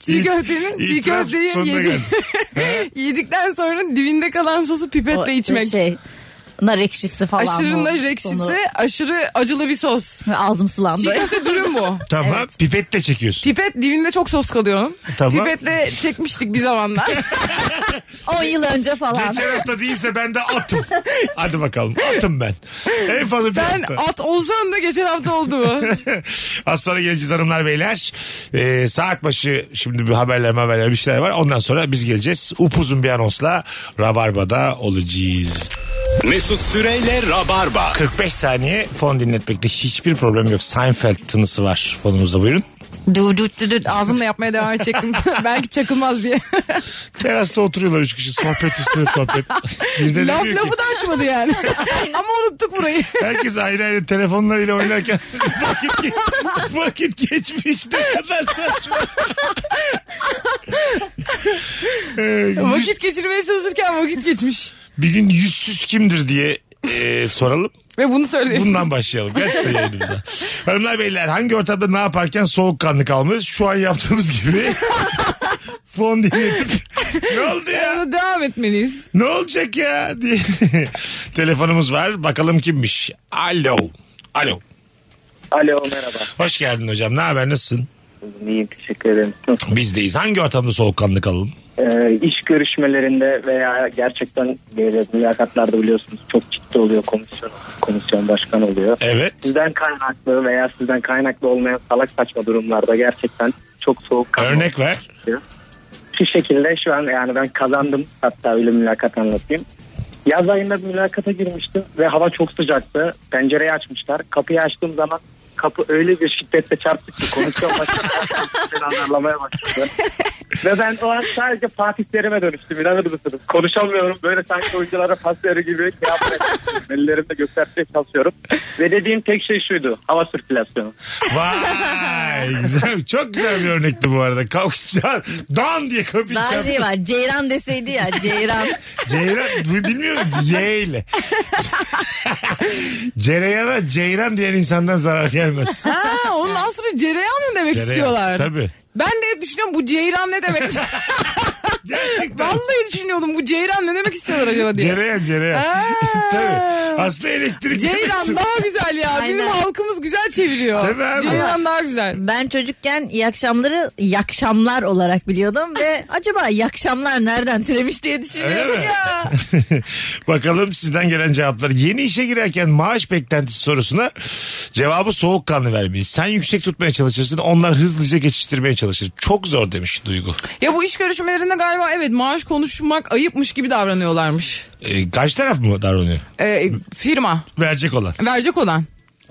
S3: çiğ köftenin, çiğ
S1: İtiraf
S3: köfteyi
S1: sonuna
S3: yedi-
S1: geldi.
S3: yedikten sonra dibinde kalan sosu pipetle içmek.
S2: Şey, nar ekşisi falan.
S3: Aşırı
S2: bu
S3: nar ekşisi,
S2: sonu.
S3: aşırı acılı bir sos.
S2: Ve Ağzım sulandı.
S3: Çiğ köfte dürüm bu.
S1: Tamam pipetle çekiyorsun.
S3: Pipet dibinde çok sos kalıyor onun.
S1: Tamam.
S3: Pipetle çekmiştik bir zamanlar.
S2: 10 yıl önce falan.
S1: Geçen hafta değilse ben de atım. Hadi bakalım atım ben. En fazla bir
S3: Sen
S1: hafta.
S3: at olsan da geçen hafta oldu mu?
S1: Az sonra geleceğiz hanımlar beyler. Ee, saat başı şimdi bir haberler haberler bir şeyler var. Ondan sonra biz geleceğiz. Upuzun bir anonsla Rabarba'da olacağız.
S9: Mesut Süreyle Rabarba.
S1: 45 saniye fon dinletmekte hiçbir problem yok. Seinfeld tınısı var fonumuzda buyurun.
S3: Du du du du. Ağzımla yapmaya devam edecektim. Belki çakılmaz diye.
S1: Terasta oturuyorlar üç kişi sohbet üstüne sohbet. Bir de
S3: Laf
S1: demiyor ki,
S3: lafı da açmadı yani. Ama unuttuk burayı.
S1: Herkes ayrı ayrı telefonlarıyla oynarken vakit, ge- vakit geçmiş ne kadar saçma. Ee,
S3: Vakit geçirmeye çalışırken vakit geçmiş.
S1: bir gün yüzsüz kimdir diye e, soralım.
S3: Ve bunu söyleyelim.
S1: Bundan başlayalım. Gerçekten yayınımıza. Hanımlar beyler hangi ortamda ne yaparken soğukkanlı kalmalıyız? Şu an yaptığımız gibi fon dinletip ne oldu ya?
S3: Ona devam etmeliyiz.
S1: Ne olacak ya? diye. Telefonumuz var. Bakalım kimmiş? Alo. Alo.
S10: Alo merhaba.
S1: Hoş geldin hocam. Ne haber? Nasılsın?
S10: İyiyim teşekkür ederim.
S1: Bizdeyiz. Hangi ortamda soğukkanlı kalalım?
S10: Ee, iş görüşmelerinde veya gerçekten böyle mülakatlarda biliyorsunuz çok ciddi oluyor komisyon komisyon başkan oluyor.
S1: Evet.
S10: Sizden kaynaklı veya sizden kaynaklı olmayan salak saçma durumlarda gerçekten çok soğuk kalmak
S1: Örnek ver.
S10: gerekiyor. Şu şekilde şu an yani ben kazandım hatta öyle mülakat anlatayım. Yaz ayında bir mülakata girmiştim ve hava çok sıcaktı. Pencereyi açmışlar. Kapıyı açtığım zaman kapı öyle bir şiddetle çarptı ki komisyon başkanı ben anlamaya başladı. Ve ben o an sadece Fatih Terim'e dönüştüm inanır mısınız? Konuşamıyorum böyle sanki oyunculara pas verir gibi şey yapmaya çalışıyorum. Ellerimle göstermeye çalışıyorum. Ve dediğim tek şey şuydu hava sirkülasyonu.
S1: Vay. Güzel. Çok güzel bir örnekti bu arada. Kalkacağım. Dan diye kapıyı
S2: Daha
S1: çarptı.
S2: şey var. Ceyran deseydi ya. Ceyran.
S1: Ceyran bu bilmiyor musun? Y ile. Cereyana Ceyran diyen insandan zarar gelmez.
S3: Ha, onun asrı cereyan mı demek
S1: Cereyan,
S3: istiyorlar?
S1: tabii.
S3: Ben de hep düşünüyorum bu ceyran ne demek?
S1: Gerçekten.
S3: Vallahi düşünüyordum bu ceyran ne demek istiyorlar acaba diye.
S1: Cereyan Cereyan.
S3: Ha.
S1: Tabii. Aslında elektrik.
S3: Ceyran daha güzel ya. Bizim
S2: Aynen.
S3: halkımız güzel çeviriyor.
S1: Tabii abi.
S3: Ceyran daha güzel.
S2: Ben çocukken iyi akşamları iyi akşamlar olarak biliyordum ve acaba iyi akşamlar nereden türemiş diye düşünüyordum
S1: Öyle mi?
S2: ya.
S1: Bakalım sizden gelen cevaplar. Yeni işe girerken maaş beklentisi sorusuna cevabı soğukkanlı vermeyiz. Sen yüksek tutmaya çalışırsın onlar hızlıca geçiştirmeye çalışır. Çok zor demiş Duygu.
S3: Ya bu iş görüşmelerinde galiba evet maaş konuşmak ayıpmış gibi davranıyorlarmış.
S1: Ee, kaç taraf mı davranıyor?
S3: Ee, firma
S1: Verecek olan.
S3: verecek olan.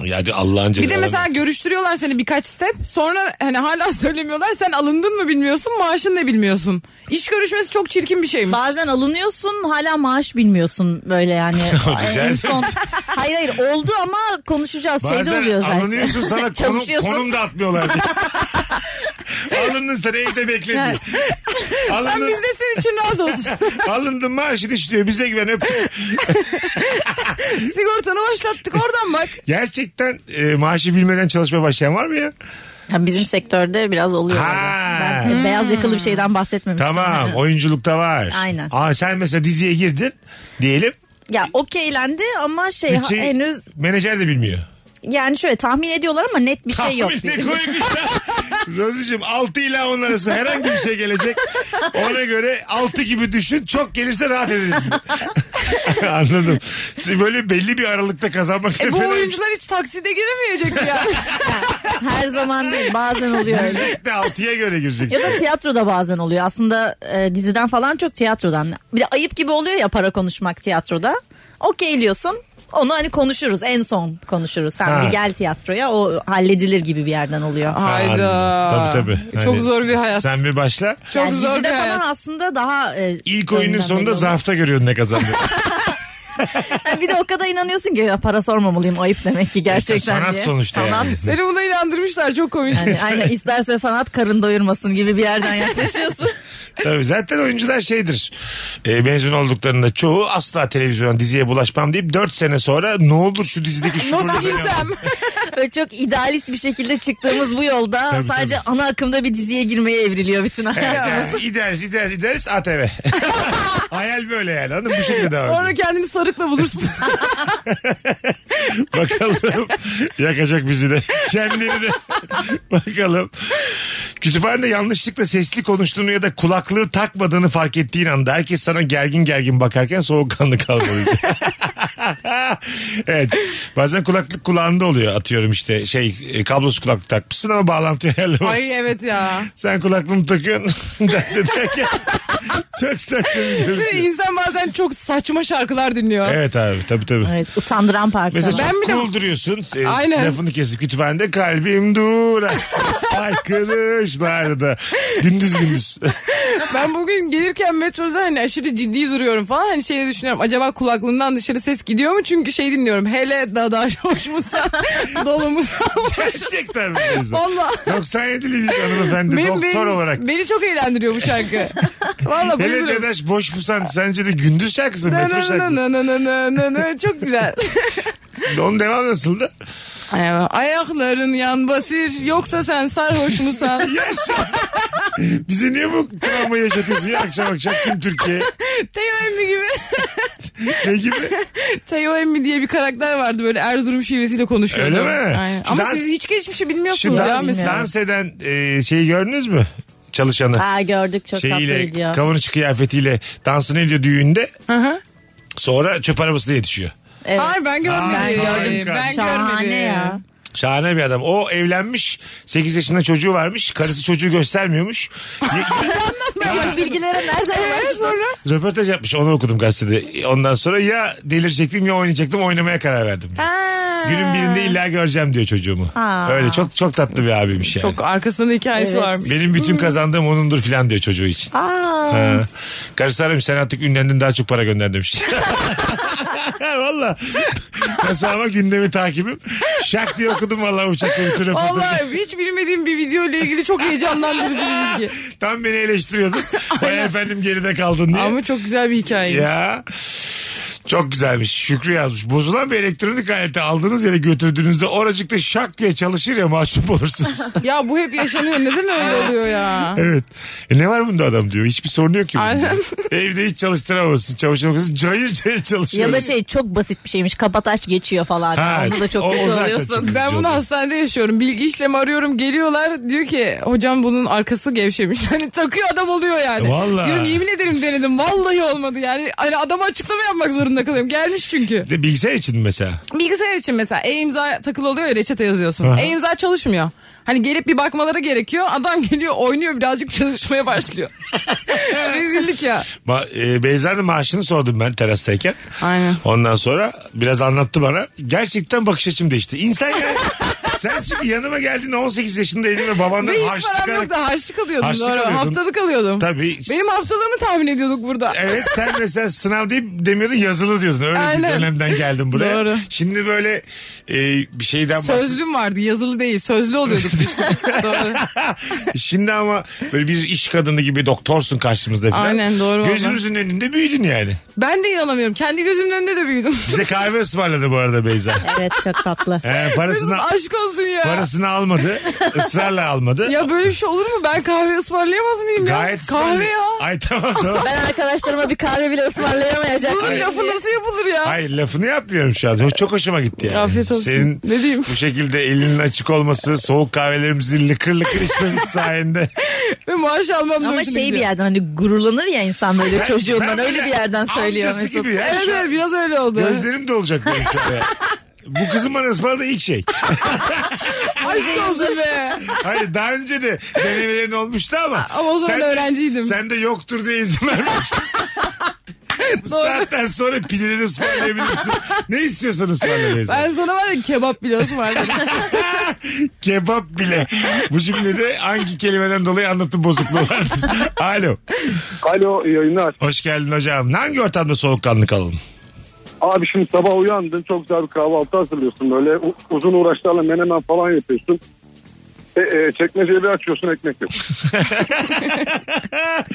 S1: Ya hadi Allah'ın
S3: Bir de
S1: cezaları.
S3: mesela görüştürüyorlar seni birkaç step. Sonra hani hala söylemiyorlar. Sen alındın mı bilmiyorsun, maaşın ne bilmiyorsun. İş görüşmesi çok çirkin bir şeymiş.
S2: Bazen alınıyorsun hala maaş bilmiyorsun böyle yani.
S1: Güzel.
S2: en son. Hayır hayır oldu ama konuşacağız şey de
S1: Bazen
S2: oluyor zaten.
S1: alınıyorsun sana konu,
S2: Çalışıyorsun.
S1: konum da atmıyorlar diye. Alındın sen evde bekle diye.
S3: Sen
S1: Alındın,
S3: bizde senin için razı olsun.
S1: alındın maaşını işliyor bize güven öptük.
S3: Sigortanı başlattık oradan bak.
S1: Gerçekten e, maaşı bilmeden çalışmaya başlayan var mı ya?
S2: Ya bizim sektörde biraz oluyor.
S1: Ha.
S2: öyle. Ben e, beyaz yakalı bir şeyden bahsetmemiştim.
S1: Tamam oyunculukta var.
S2: Aynen.
S1: Aa, sen mesela diziye girdin diyelim.
S2: Ya okeylendi ama şey ha-
S1: Bütçeyi
S2: henüz
S1: menajer de bilmiyor.
S2: yani şöyle tahmin ediyorlar ama net bir şey yok.
S1: Tahminle koymuşlar. Rozi'cim 6 ila 10 arası herhangi bir şey gelecek. Ona göre 6 gibi düşün. Çok gelirse rahat edilirsin. Anladım. Siz böyle belli bir aralıkta kazanmak
S3: E, bu
S1: fena bir
S3: oyuncular hiç takside giremeyecek yani.
S2: Her zaman değil bazen oluyor
S1: şey.
S2: öyle.
S1: Girecek de 6'ya göre girecek.
S2: Ya da tiyatroda bazen oluyor. Aslında e, diziden falan çok tiyatrodan. Bir de ayıp gibi oluyor ya para konuşmak tiyatroda. Okeyliyorsun. Onu hani konuşuruz en son konuşuruz. Sen
S1: Ha.
S2: bir gel tiyatroya o halledilir gibi bir yerden oluyor.
S3: Hayda.
S1: Anladım. Tabii tabii.
S3: Çok
S1: Hani
S3: zor bir hayat.
S1: Sen bir başla.
S3: Çok
S2: yani
S3: zor bir
S2: dizide
S3: hayat.
S2: falan aslında daha... e,
S1: İlk
S2: önden
S1: oyunun
S2: belli
S1: sonunda
S2: oluyor.
S1: zarfta görüyorsun ne kazandığını.
S2: Yani bir de o kadar inanıyorsun ki ya para sormamalıyım ayıp demek ki gerçekten
S1: E, sanat
S2: diye.
S1: sonuçta yani. Seni
S2: buna inandırmışlar çok komik. Yani, aynen isterse sanat karın doyurmasın gibi bir yerden yaklaşıyorsun.
S1: Tabii zaten oyuncular şeydir. E, mezun olduklarında çoğu asla televizyona diziye bulaşmam deyip 4 sene sonra ne olur şu dizideki şu
S2: Nasıl
S1: rolü ben
S2: girsem? Böyle çok idealist bir şekilde çıktığımız bu yolda
S1: Tabii,
S2: sadece ana akımda bir diziye girmeye evriliyor bütün hayatımız.
S1: Evet, idealist, idealist, idealist ATV. Hayal böyle yani. Hanım bu şekilde devam
S3: Sonra
S1: ediyor.
S3: kendini sarıkla bulursun.
S1: Bakalım yakacak bizi de. Kendini de. Bakalım. Kütüphanede yanlışlıkla sesli konuştuğunu ya da kulaklığı takmadığını fark ettiğin anda herkes sana gergin gergin bakarken soğukkanlı kalmalıydı. evet. Bazen kulaklık kulağında oluyor atıyorum işte şey e, kablosuz kulaklık takmışsın ama bağlantı ayarlamışsın.
S3: Ay evet ya.
S1: Sen kulaklığını takıyorsun ders ederken. Çok saçma bir
S3: Bir de
S1: görüntü.
S3: İnsan bazen çok saçma şarkılar dinliyor.
S1: Evet abi tabii tabii.
S2: Evet, utandıran parçalar.
S1: Mesela çok cool duruyorsun. E,
S3: Aynen.
S1: Lafını kesip kütüphanede kalbim duraksız haykırışlarda. Gündüz gündüz.
S3: Ben bugün gelirken metroda hani aşırı ciddi duruyorum falan. Hani şey düşünüyorum acaba kulaklığımdan dışarı ses gidiyor mu? Çünkü şey dinliyorum. Hele dada hoş musun? Dolu musun?
S1: Gerçekten mi? teyze?
S3: Valla.
S1: 97'li bir hanımefendi
S3: Benim-
S1: doktor
S3: benim-
S1: olarak.
S3: Beni çok eğlendiriyor bu şarkı. Valla
S1: Hele
S3: bayılırım.
S1: Dedaş boş musan sence de gündüz şarkısı
S3: Na
S1: metro
S3: na
S1: şarkısı.
S3: na na na na na na. Çok güzel.
S1: Onun devamı nasıldı?
S3: Ay, Ayakların yan basir yoksa sen sarhoş musun?
S1: Yaşa. Bize niye bu travmayı yaşatıyorsun ya akşam akşam tüm Türkiye?
S3: Teo emmi gibi.
S1: Ne gibi?
S3: Teo emmi diye bir karakter vardı böyle Erzurum şivesiyle konuşuyordu.
S1: Öyle mi?
S3: Aynen.
S1: Şu
S3: Ama
S1: dans-
S3: siz hiç geçmişi
S1: Şu
S3: bilmiyorsunuz ya
S1: dans,
S3: mesela.
S1: dans eden e, şeyi gördünüz mü? Çalışanı.
S2: Ha gördük çok
S1: şeyiyle
S2: tatlıydı ya.
S1: kavanoz kıyafetiyle dansını ediyor düğünde.
S3: Hı hı.
S1: Sonra çöp arabasına yetişiyor.
S2: Evet.
S3: Hayır ben görmedim.
S1: Ay,
S3: Ben,
S1: harika.
S3: görmedim.
S2: Şahane ya.
S1: Şahane bir adam. O evlenmiş. 8 yaşında çocuğu varmış. Karısı çocuğu göstermiyormuş.
S2: Ben bilgilere nereden
S3: Evet,
S2: başladın?
S3: sonra
S1: Röportaj yapmış. Onu okudum gazetede. Ondan sonra ya delirecektim ya oynayacaktım. Oynamaya karar verdim. diyor.
S3: Ha.
S1: Günün birinde illa göreceğim diyor çocuğumu.
S2: Aa.
S1: Öyle çok çok tatlı bir abiymiş yani.
S3: Çok arkasında da hikayesi
S2: Evet.
S3: varmış.
S1: Benim bütün kazandığım onundur filan diyor çocuğu için.
S2: Aa.
S1: Ha. Karısı aramış sen artık ünlendin daha çok para gönder demiş. valla. Kasama gündemi takibim. Şak diye okudum valla uçakta bütün röportajı.
S3: Vallahi hiç bilmediğim bir video ile ilgili çok heyecanlandırıcı bir bilgi.
S1: Tam beni eleştiriyordun. Baya efendim geride kaldın diye.
S3: Ama çok güzel bir hikayeymiş.
S1: Ya. Çok güzelmiş. Şükrü yazmış. Bozulan bir elektronik aleti aldığınız yere götürdüğünüzde oracıkta şak diye çalışır ya mahcup olursunuz.
S3: Ya bu hep yaşanıyor. Neden öyle oluyor ya?
S1: evet. E ne var bunda adam diyor. Hiçbir sorunu yok ki. bunun.
S3: Aynen.
S1: Evde hiç çalıştıramazsın. Çamaşır makinesi cayır cayır çalışıyor.
S2: Ya da şey çok basit bir şeymiş kapataç geçiyor falan.
S1: Ha,
S2: Onda da çok
S1: o- o
S2: kötü
S1: zaten
S2: oluyorsun.
S1: çok-
S3: Ben bunu hastanede yaşıyorum. Bilgi işlemi arıyorum. Geliyorlar diyor ki hocam bunun arkası gevşemiş. Hani takıyor adam oluyor yani.
S1: E, Vallahi.
S3: Diyorum yemin ederim denedim. Vallahi olmadı yani. Hani adama açıklama yapmak zorunda kalıyorum. Gelmiş çünkü.
S1: De bilgisayar için mi mesela.
S3: Bilgisayar için mesela e-imza takılı oluyor ya reçete yazıyorsun.
S1: Aha.
S3: E-imza çalışmıyor. Hani gelip bir bakmaları gerekiyor. Adam geliyor oynuyor birazcık çalışmaya başlıyor. Rezillik ya.
S1: Ma e, Beyza'nın maaşını sordum ben terastayken.
S3: Aynen.
S1: Ondan sonra biraz anlattı bana. Gerçekten bakış açım değişti. İnsan ya. sen çünkü yanıma geldiğinde 18 yaşında elime babandan
S3: Ve hiç
S1: harçlık
S3: param
S1: alarak-
S3: yoktu. Harçlık alıyordum
S1: Harçlık
S3: doğru.
S1: alıyordun.
S3: Haftalık alıyordum.
S1: Tabii.
S3: Benim haftalığımı tahmin ediyorduk burada.
S1: Evet sen mesela sınav deyip demiyordun yazılı diyordun. Öyle
S3: Aynen.
S1: bir dönemden geldim buraya.
S3: Doğru.
S1: Şimdi böyle e, bir şeyden bahsediyorsun.
S3: Sözlüm vardı yazılı değil sözlü oluyorduk biz. Doğru.
S1: Şimdi ama böyle bir iş kadını gibi doktorsun karşımızda falan.
S3: Aynen, doğru
S1: Gözümüzün önünde büyüdün yani.
S3: Ben de inanamıyorum. Kendi gözümün önünde de büyüdüm.
S1: Bize kahve ısmarladı bu arada Beyza.
S2: Evet çok tatlı.
S1: He, parasını,
S3: Mesut aşk olsun ya.
S1: parasını almadı. ısrarla almadı.
S3: Ya böyle bir şey olur mu? Ben kahve ısmarlayamaz mıyım ya?
S1: Gayet
S3: kahve
S1: ısrarlı.
S3: ya.
S1: Ay tamam tamam.
S2: Ben arkadaşlarıma bir kahve bile ısmarlayamayacak.
S3: Bunun
S2: mıyım
S3: lafı
S2: diye.
S3: nasıl yapılır ya?
S1: Hayır lafını yapmıyorum şu an. Çok- Çok hoşuma gitti yani.
S3: Afiyet olsun.
S1: Senin
S3: Ne diyeyim?
S1: bu şekilde elinin açık olması, soğuk kahvelerimizi lıkır lıkır içmemiz sayende.
S3: Ve maaş almam da
S2: Ama
S3: hoşuna
S2: şey bir
S3: gidiyor.
S2: yerden hani gururlanır ya insan böyle çocuğundan
S1: ben
S2: öyle
S1: böyle
S2: bir yerden söylüyor
S1: amcası
S2: Mesut.
S1: gibi ya.
S3: Evet
S1: Şu an
S3: evet biraz öyle oldu.
S1: Gözlerim dolacak benim şöyle. Bu kızın bana ısmarladığı ilk şey.
S3: Aşk olsun be.
S1: Hayır daha önce de denemelerin olmuştu ama.
S3: Ama o zaman
S1: de-
S3: öğrenciydim.
S1: Sen de yoktur diye izin vermemiştin. Bu saatten sonra pideni de ısmarlayabilirsin. ne istiyorsan ısmarla Beyza.
S3: Ben sana var ya kebap bile ısmarladım.
S1: Kebap bile. Bu cümlede hangi kelimeden dolayı anlatım bozukluğu vardır? Alo.
S5: Alo iyi yayınlar.
S1: Hoş geldin hocam. Hangi ortamda soğukkanlı kalalım?
S11: Abi şimdi sabah uyandın çok güzel bir kahvaltı hazırlıyorsun böyle u- uzun uğraşlarla menemen falan yapıyorsun. E, e, çekmeceyi bir açıyorsun ekmek yok.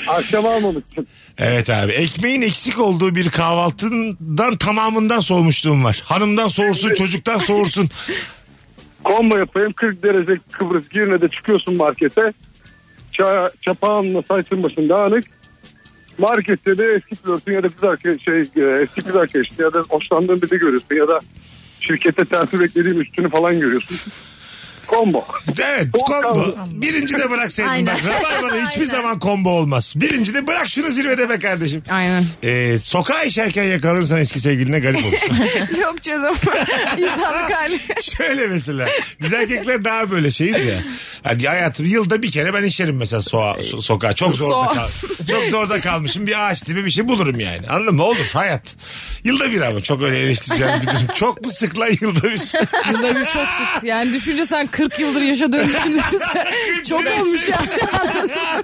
S1: Akşam almamışsın. Evet abi. Ekmeğin eksik olduğu bir kahvaltından tamamından soğumuşluğum var. Hanımdan soğursun, çocuktan soğursun.
S11: Kombo yapayım 40 derece Kıbrıs Girne'de çıkıyorsun markete. Ça çapağınla saçın başın dağınık. Markette de eski flörtün ya da kız arkadaş, şey, e, eski kız arkadaşın ya da hoşlandığın birini görüyorsun ya da şirkette terfi beklediğin üstünü falan görüyorsun. Kombo.
S1: Evet kombo. Birinci de bıraksaydın
S11: Aynen.
S1: bak. Rabarba'da hiçbir zaman kombo olmaz. Birinci de bırak şunu zirvede be kardeşim.
S3: Aynen.
S1: Ee, sokağa işerken yakalanırsan eski sevgiline garip olur.
S3: Yok canım. İnsanlık hali.
S1: Şöyle mesela. Biz erkekler daha böyle şeyiz ya. Hani hayatım yılda bir kere ben işerim mesela soğa, so- sokağa. Çok zorda
S4: So-
S1: kal Çok zorda kalmışım. Bir ağaç tipi bir şey bulurum yani. Anladın mı? Olur hayat. Yılda bir ama çok öyle eleştireceğim bir durum. Çok mu sık lan yılda bir?
S3: Yılda bir çok sık. Yani düşünce sen 40 yıldır yaşadığın için çok
S1: şey.
S3: olmuş ya.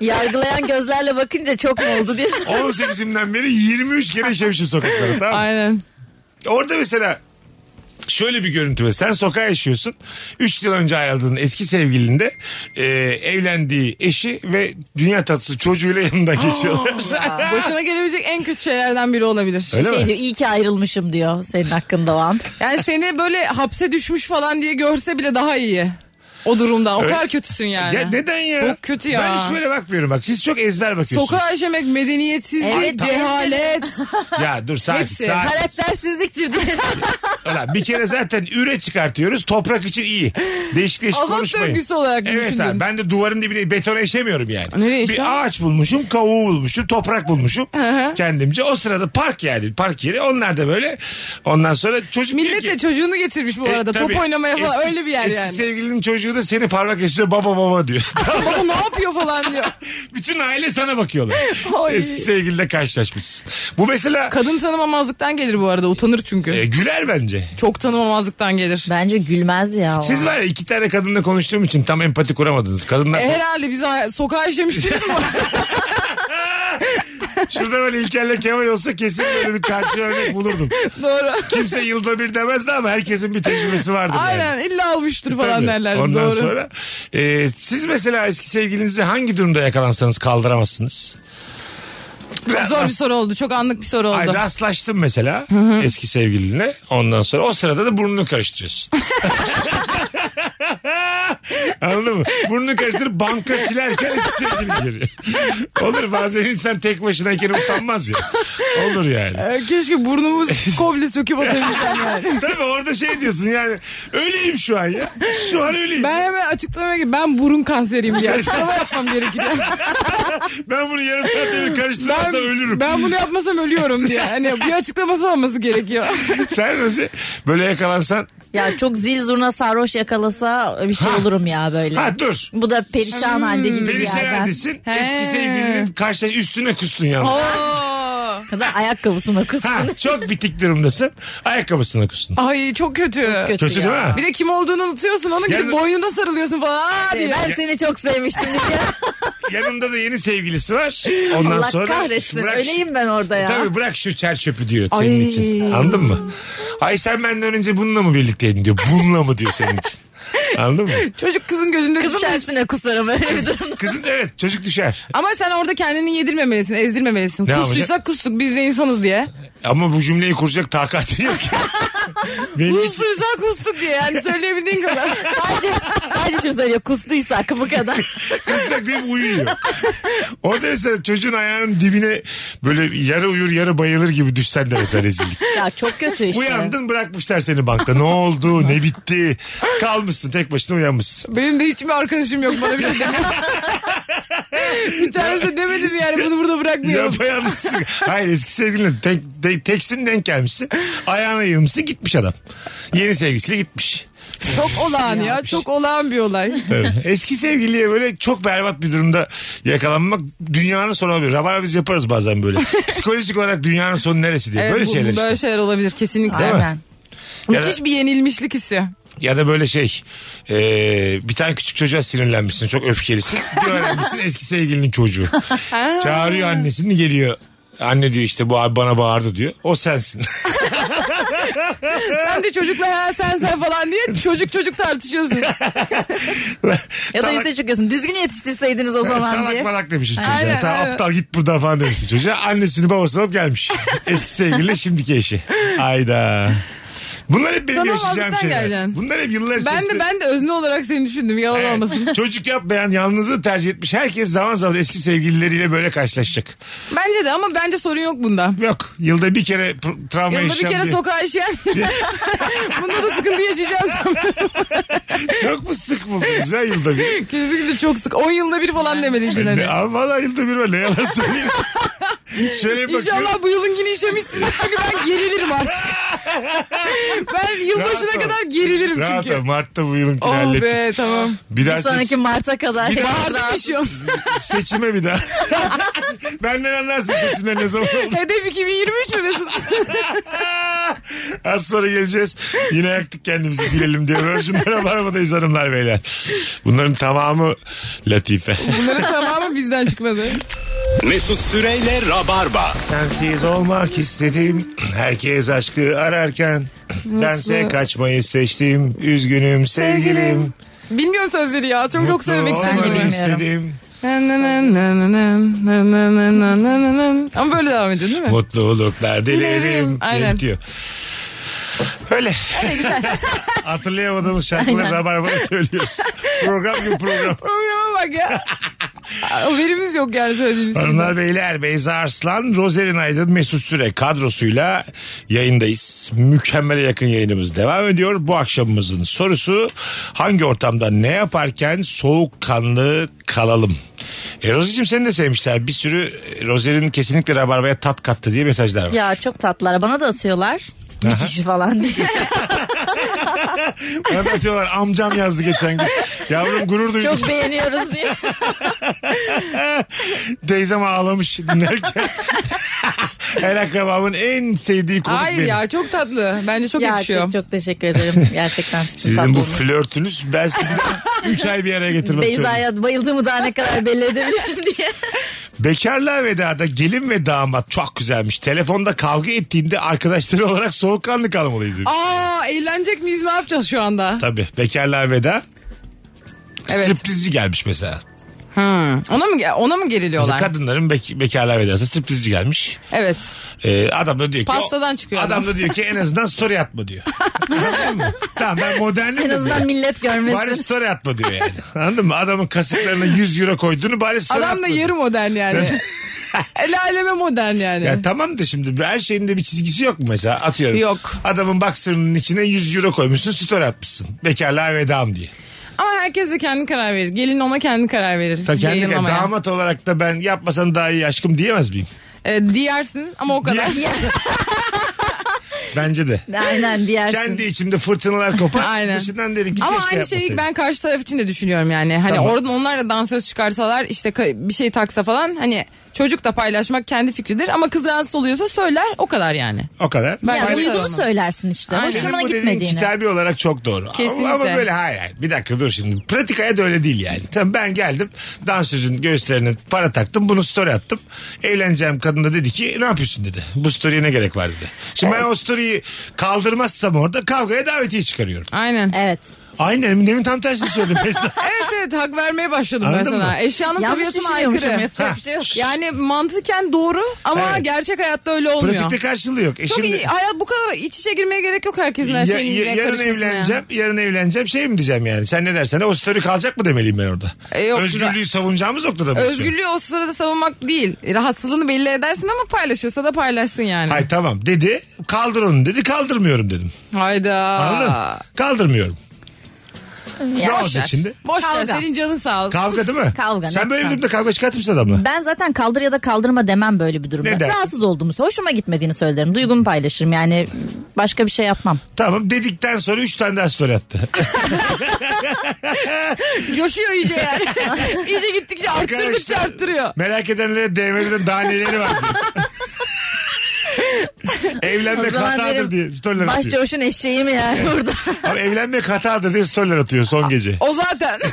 S2: Yargılayan gözlerle bakınca çok mu oldu diye.
S1: 18'imden beri 23 kere işemişim sokakları tamam
S3: Aynen.
S1: Orada mesela Şöyle bir görüntü var. Sen sokağa yaşıyorsun. 3 yıl önce ayrıldığın eski sevgilinde e, evlendiği eşi ve dünya tatlısı çocuğuyla yanından geçiyorlar.
S3: Başına gelebilecek en kötü şeylerden biri olabilir.
S1: Öyle Şey mi? diyor,
S3: iyi ki ayrılmışım diyor senin hakkında o Yani seni böyle hapse düşmüş falan diye görse bile daha iyi. O durumdan. O
S1: Öyle-
S3: kadar kötüsün yani.
S1: Ya neden ya?
S3: Çok kötü ya.
S1: Ben hiç böyle bakmıyorum bak. Siz çok ezber bakıyorsunuz.
S3: Sokağa yaşamak medeniyetsizlik,
S1: Evet,
S3: cehalet.
S1: Ya dur sakin
S3: Hepsi.
S1: sakin.
S3: Karaktersizliktir diye.
S1: Ulan bir kere zaten üre çıkartıyoruz. Toprak için iyi. Değişik değişik
S3: Azot
S1: konuşmayın.
S3: örgüsü olarak
S1: Evet
S3: düşündün.
S1: abi ben de duvarın dibine betona eşemiyorum yani.
S3: Nereye eşiyorsun?
S1: bir ağaç bulmuşum, kavuğu bulmuşum, toprak bulmuşum kendimce. O sırada park yani park yeri. Onlar da böyle. Ondan sonra çocuk diyor
S3: Millet
S1: ki-
S3: de çocuğunu getirmiş bu
S1: E,
S3: arada.
S1: tabii.
S3: Top oynamaya falan
S1: Eski-
S3: öyle bir yer yani.
S1: Eski sevgilinin çocuğu da seni parmak esiyor baba baba diyor.
S3: Baba ne yapıyor falan diyor.
S1: Bütün aile sana bakıyorlar.
S3: Ay.
S1: Eski sevgilinle karşılaşmışsın. Bu mesela... e,
S3: Kadın tanımamazlıktan gelir bu arada. Utanır çünkü.
S1: güler bence.
S3: Çok tanımamazlıktan gelir.
S2: Bence gülmez ya.
S1: Siz var ya iki tane kadınla konuştuğum için tam empati kuramadınız. Kadınlar...
S3: E, herhalde biz ha- sokağa işemiştiniz mi?
S1: Şurada böyle İlker'le Kemal olsa kesin böyle bir karşı örnek bulurdum.
S3: Doğru.
S1: Kimse yılda bir demezdi ama herkesin bir tecrübesi vardı.
S3: Aynen illa almıştır falan
S1: Tabii.
S3: derlerdi.
S1: Ondan
S3: Doğru.
S1: sonra e, siz mesela eski sevgilinizi hangi durumda yakalansanız kaldıramazsınız?
S3: Çok zor bir soru oldu. Çok anlık bir soru oldu.
S1: Ay rastlaştım mesela eski sevgiline. Ondan sonra o sırada da burnunu karıştırıyorsun. Anladın mı? Burnunu karıştırıp banka silerken eski sevgilin geliyor. Olur bazen insan tek başınayken utanmaz ya. Olur yani.
S3: E, Keşke burnumuz komple söküp atabilsem yani.
S1: Tabii orada şey diyorsun yani öyleyim şu an ya. Şu an öyleyim.
S3: Ben hemen açıklamaya gidip ben burun kanseriyim diye açıklama yapmam gerekir.
S1: ben bunu yarım saatte bir karıştırmasam
S3: Ben-
S1: ölürüm.
S3: Ben bunu yapmasam ölüyorum diye. Hani bir açıklaması olması gerekiyor.
S1: Sen Rozi böyle yakalansan
S2: Ya çok zil zurna sarhoş yakalasa bir şey olurum ya böyle.
S1: Ha, dur.
S2: Bu da perişan halde gibi bir
S1: Perişan
S2: yerden.
S1: haldesin. Eski sevgilinin karşı üstüne kustun yalnız.
S2: Kadar ayakkabısına kustun.
S1: Ha, çok bitik durumdasın. Ayakkabısına kustun.
S3: Ay çok kötü.
S1: kötü Kötü ya. değil mi?
S3: Bir de kim olduğunu unutuyorsun. Onun gidip
S1: Yani-
S3: boynuna sarılıyorsun falan. Aa
S2: Ben
S3: diye.
S2: seni çok sevmiştim diye.
S1: Yanında da yeni sevgilisi var. Ondan
S2: Allah
S1: sonra
S2: kahretsin.
S1: Bırak şu-
S2: Öleyim ben orada ya.
S1: Tabii bırak şu çer çöpü diyor
S2: Ay.
S1: senin için. Anladın mı? Ay sen benden önce bununla mı birlikteydin diyor. Bununla mı diyor senin için. Anladın mı?
S3: Çocuk kızın gözünde
S2: Kızın
S3: düşer.
S2: üstüne kusarım öyle bir durumda.
S1: Kızın evet çocuk düşer.
S3: Ama sen orada kendini yedirmemelisin, ezdirmemelisin.
S1: Ne
S3: Kustuysak
S1: yapacak?
S3: kustuk biz de insanız diye.
S1: Ama bu cümleyi kuracak takati yok. Belli ki-
S3: Kustuysak kustuk diye yani söyleyebildiğin kadar.
S2: sadece, sadece şunu söylüyor kustuysak bu kadar.
S1: Kızacak deyip uyuyor. Orada mesela çocuğun ayağının dibine böyle yarı uyur yarı bayılır gibi düşsen de mesela rezillik.
S2: ya çok kötü işte.
S1: Uyandın bırakmışlar seni bankta. Ne oldu? Ne bitti? Kalmışsın tek başına uyanmışsın.
S3: Benim de hiç mi arkadaşım yok bana bir şey demiyor. bir tanesi de demedim yani bunu burada bırakmıyorum.
S1: Yapayalnızsın. Hayır eski sevgilinle tek, tek, teksin denk gelmişsin. Ayağına yığılmışsın gitmiş adam. Yeni sevgilisiyle gitmiş.
S3: Çok olağan ya. Çok olağan bir olay.
S1: Tabii. Eski sevgiliye böyle çok berbat bir durumda yakalanmak dünyanın sonu olabilir. Rabar biz yaparız bazen böyle. Psikolojik olarak dünyanın sonu neresi diye.
S3: Evet,
S1: böyle
S3: bu-
S1: şeyler işte.
S3: Böyle şeyler olabilir kesinlikle.
S1: Değil mi? Aynen. Ya da-
S3: Müthiş bir yenilmişlik hissi.
S1: Ya da böyle şey eee, bir tane küçük çocuğa sinirlenmişsin çok öfkelisin. Bir öğrenmişsin eski sevgilinin çocuğu. Çağırıyor annesini geliyor Anne diyor işte bu abi bana bağırdı diyor. O sensin.
S3: sen de çocukla ha, sen sen falan diye çocuk çocuk tartışıyorsun.
S2: Ya da
S1: Salak-
S2: üste çıkıyorsun. Düzgün yetiştirseydiniz o zaman
S1: E, Salak
S2: diye.
S1: malak demişsin çocuğa.
S2: Aynen,
S1: Ta
S2: aynen.
S1: aptal git buradan falan demişsin çocuğa. Annesini babasını alıp gelmiş. Eski sevgiliyle şimdiki eşi. Hayda. Bunlar hep benim yaşayacağım
S3: Tanımazlıktan
S1: şeyler.
S3: geleceksin.
S1: Bunlar hep yıllar
S3: Ben
S1: içerisinde.
S3: de ben de özne olarak seni düşündüm yalan
S1: Evet.
S3: olmasın.
S1: Çocuk yapmayan yalnızlığı tercih etmiş. Herkes zaman zaman eski sevgilileriyle böyle karşılaşacak.
S3: Bence de ama bence sorun yok bunda.
S1: Yok. Yılda bir kere pr- travma
S3: Yanında bir
S1: yaşayan
S3: kere
S1: diye-
S3: sokağa işeyen. Bunda da sıkıntı yaşayacağız.
S1: Çok mu sık buldunuz ya yılda bir?
S3: Kesinlikle çok sık. 10 yılda bir falan demeliydin hani.
S1: Ne, abi valla yılda bir var ne yalan söyleyeyim. Şöyle bakıyorum.
S3: İnşallah bu yılın yine işemişsin. Çünkü ben gerilirim artık. ben yılbaşına
S1: Rahat ol.
S3: kadar gerilirim
S1: Rahat ol,
S3: çünkü.
S1: Mart'ta bu yılınkini
S3: Oh
S1: hallettik.
S3: be tamam.
S1: Bir daha
S2: Bir sonraki Mart'a kadar.
S1: Bir daha-
S2: hepimiz rahat.
S3: Yaşıyorum.
S1: seçime bir daha. Benden anlarsın seçimler ne zaman olur.
S3: Hedef 2023 mü Mesut?
S1: Az sonra geleceğiz. Yine yaktık kendimizi gülelim diye. Virgin'lere varmadayız hanımlar beyler. Bunların tamamı latife.
S3: Bunların tamamı bizden çıkmadı.
S9: Mesut Süreyle Rabarba.
S1: Sensiz olmak istedim. Herkes aşkı ararken. Bense kaçmayı seçtim. Üzgünüm sevgilim.
S3: Bilmiyorum sözleri ya. Çok çok söylemek
S1: Mutlu olmanı
S3: istedim.
S1: istedim.
S3: Na na na na na na na na na na na na na. Ama böyle devam ediyor değil mi?
S1: Mutluluklar dilerim.
S3: Dilerim, aynen.
S1: Aynen. Diyor. Öyle.
S3: Ne güzel.
S1: Hatırlayamadığımız şarkıları
S3: Aynen.
S1: rabarbada söylüyoruz. program gibi program.
S3: Programa bak ya. Haberimiz yok yani söylediğimiz
S1: Hanımlar
S3: şeyden.
S1: beyler Beyza Arslan, Rozerin Aydın, Mesut Süre kadrosuyla yayındayız. Mükemmele yakın yayınımız devam ediyor. Bu akşamımızın sorusu hangi ortamda ne yaparken soğukkanlı kalalım? E, Rozi'cim seni de sevmişler. Bir sürü e, Rozer'in kesinlikle rabarbaya tat kattı diye mesajlar var.
S2: Ya çok tatlılar. Bana da atıyorlar. Müthiş falan diye.
S1: Bana atıyorlar amcam yazdı geçen gün. Yavrum gurur duydum.
S2: Çok beğeniyoruz diye.
S1: Teyzem ağlamış dinlerken. Her akrabamın en sevdiği konuk
S3: Hayır
S1: benim.
S3: ya çok tatlı. Bence çok
S2: ya
S3: yakışıyor.
S2: çok çok teşekkür ederim. Gerçekten sizin
S1: Sizin bu
S2: tatlılığınız.
S1: flörtünüz ben sizi 3 ay bir araya getirmek istiyorum.
S2: Beyza'ya bayıldığımı daha ne kadar belli edebilirim diye.
S1: Bekarlığa vedada gelin ve damat çok güzelmiş. Telefonda kavga ettiğinde arkadaşları olarak soğukkanlı kalmalıyız. demiş.
S3: Aa eğlenecek miyiz ne yapacağız şu anda?
S1: Tabii bekarlığa veda.
S3: Evet.
S1: Striptizci gelmiş mesela.
S3: Hmm. Ona mı ona mı
S1: Mesela
S3: geriliyorlar?
S1: kadınların bek- bekarlığa vedası striptizci gelmiş.
S3: Evet.
S1: Ee, adam da diyor ki
S3: Pastadan çıkıyor
S1: adam.
S3: adam.
S1: da diyor ki en azından story atma diyor. Anladın mı? Tamam ben modernim
S2: En
S1: de
S2: azından
S1: diyor.
S2: millet görmesin.
S1: Bari story atma diyor yani. Anladın mı? Adamın kasıklarına 100 euro koyduğunu bari story
S3: Adam da
S1: atma
S3: yarı modern yani. El aleme modern yani.
S1: Ya tamam da şimdi her şeyin de bir çizgisi yok mu mesela atıyorum.
S3: Yok.
S1: Adamın boxer'ının içine 100 euro koymuşsun story atmışsın. Bekarlığa vedam diye.
S3: Ama herkes de kendi karar verir. Gelin ona kendi karar verir.
S1: Tabii kendi
S3: yayınlamaya.
S1: damat olarak da ben yapmasan daha iyi aşkım diyemez miyim?
S3: Ee, diyersin ama o kadar.
S1: Bence de.
S2: Aynen diyersin.
S1: Kendi içimde fırtınalar kopar.
S3: Aynen.
S1: Dışından derim ki
S3: Ama
S1: keşke
S3: aynı şeyi
S1: yapmasaydım.
S3: ben karşı taraf için de düşünüyorum yani. Hani
S1: şey Tamam.
S3: orada onlar da dansöz çıkarsalar işte ka- bir şey taksa falan hani çocuk da paylaşmak kendi fikridir ama kız rahatsız oluyorsa söyler o kadar yani.
S1: O kadar.
S3: Ben-
S2: Ya
S3: Aynen.
S2: duygunu
S3: Aynen.
S2: söylersin işte.
S3: Aynen.
S1: Senin
S2: Hoşuma
S1: bu dediğin
S2: gitmediğini.
S1: kitabi olarak çok doğru.
S3: Kesinlikle.
S1: Ama böyle hayır. hayır. Bir dakika dur şimdi. Pratikaya da öyle değil yani. Tamam ben geldim. Dansözün göğüslerine para taktım. Bunu story attım. Eğleneceğim kadın da dedi ki "E, ne yapıyorsun dedi. Bu story'e ne gerek var dedi. Şimdi ben o story'yi kaldırmazsam orada kavgaya davetiye çıkarıyorum.
S3: Aynen.
S2: Evet.
S1: Aynen. Demin tam tersini söyledim. Mesela.
S3: Evet evet hak vermeye başladım ben
S1: Anladın
S3: sana.
S1: mı?
S3: Eşyanın
S2: Yanlış
S3: tabiatına
S2: düşünüyormuşum.
S3: aykırı.
S2: Yapacak bir şey yok.
S3: Yani mantıken doğru ama
S1: Evet.
S3: gerçek hayatta öyle olmuyor.
S1: Pratikte karşılığı yok. E
S3: Çok
S1: şimdi-
S3: iyi. Hayat bu kadar iç içe girmeye gerek yok herkesin her
S1: Ya-
S3: şeyin
S1: ya-
S3: ya,
S1: yarın evleneceğim. Yarın evleneceğim. Şey mi diyeceğim yani? Sen ne dersen de o story kalacak mı demeliyim ben orada?
S3: E, yok,
S1: Özgürlüğü savunacağımız noktada mı? istiyorsun?
S3: Özgürlüğü o sırada savunmak değil. E, Rahatsızlığını belli edersin ama paylaşırsa da paylaşsın yani.
S1: Ay tamam dedi. Kaldır onu dedi. Kaldırmıyorum dedim.
S3: Hayda.
S1: Anladın mı? Kaldırmıyorum. ne olacak
S3: ver.
S1: şimdi?
S3: Boş ver
S2: Kavga.
S3: senin canın sağ olsun.
S1: Kavga değil mi?
S2: Kavga,
S1: Sen
S2: net
S1: böyle bir
S2: kavga.
S1: durumda kavga çıkartır mısın adamla?
S2: Ben zaten kaldır ya da kaldırma demem böyle bir durumda.
S1: Ne dersin?
S2: Rahatsız olduğumu, hoşuma gitmediğini söylerim. Duygumu paylaşırım. Yani başka bir şey yapmam.
S1: Tamam dedikten sonra 3 tane daha story attı.
S3: Coşuyor iyice yani. iyice gittikçe arttırdıkça
S1: Arkadaşlar,
S3: arttırıyor.
S1: Merak edenlere DM'de daha neleri var diyor.
S2: O
S1: evlenmek
S2: zaman
S1: hatadır
S2: benim
S1: diye storyler atıyor.
S2: Başçavuşun eşeği mi yani burada?
S1: Ama evlenmek hatadır diye storyler atıyor son gece.
S3: O zaten.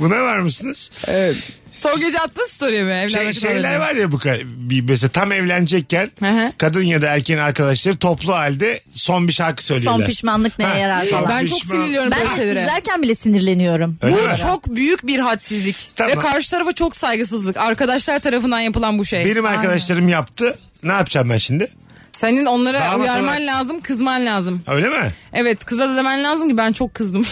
S1: Buna var mısınız? Evet.
S3: Son gece attın story'e mi? Evlenmek
S1: Şey,
S3: üzere
S1: şeyler
S3: mi?
S1: var ya bu ka- bir mesela tam evlenecekken kadın ya da erkeğin arkadaşları toplu halde son bir şarkı söylüyorlar.
S2: Son pişmanlık neye
S1: Ha,
S2: yarar
S1: son
S2: falan.
S1: pişman-
S2: Ben izlerken bile sinirleniyorum.
S1: Öyle
S3: bu
S1: mi?
S3: çok büyük bir hadsizlik.
S1: Tamam.
S3: Ve karşı tarafa çok saygısızlık. Arkadaşlar tarafından yapılan bu şey.
S1: Benim
S3: Aynen.
S1: arkadaşlarım yaptı. Ne yapacağım ben şimdi?
S3: Senin onlara
S1: Damat
S3: uyarman
S1: olarak-
S3: lazım, kızman lazım.
S1: Öyle mi?
S3: Evet kıza da demen lazım ki ben çok kızdım.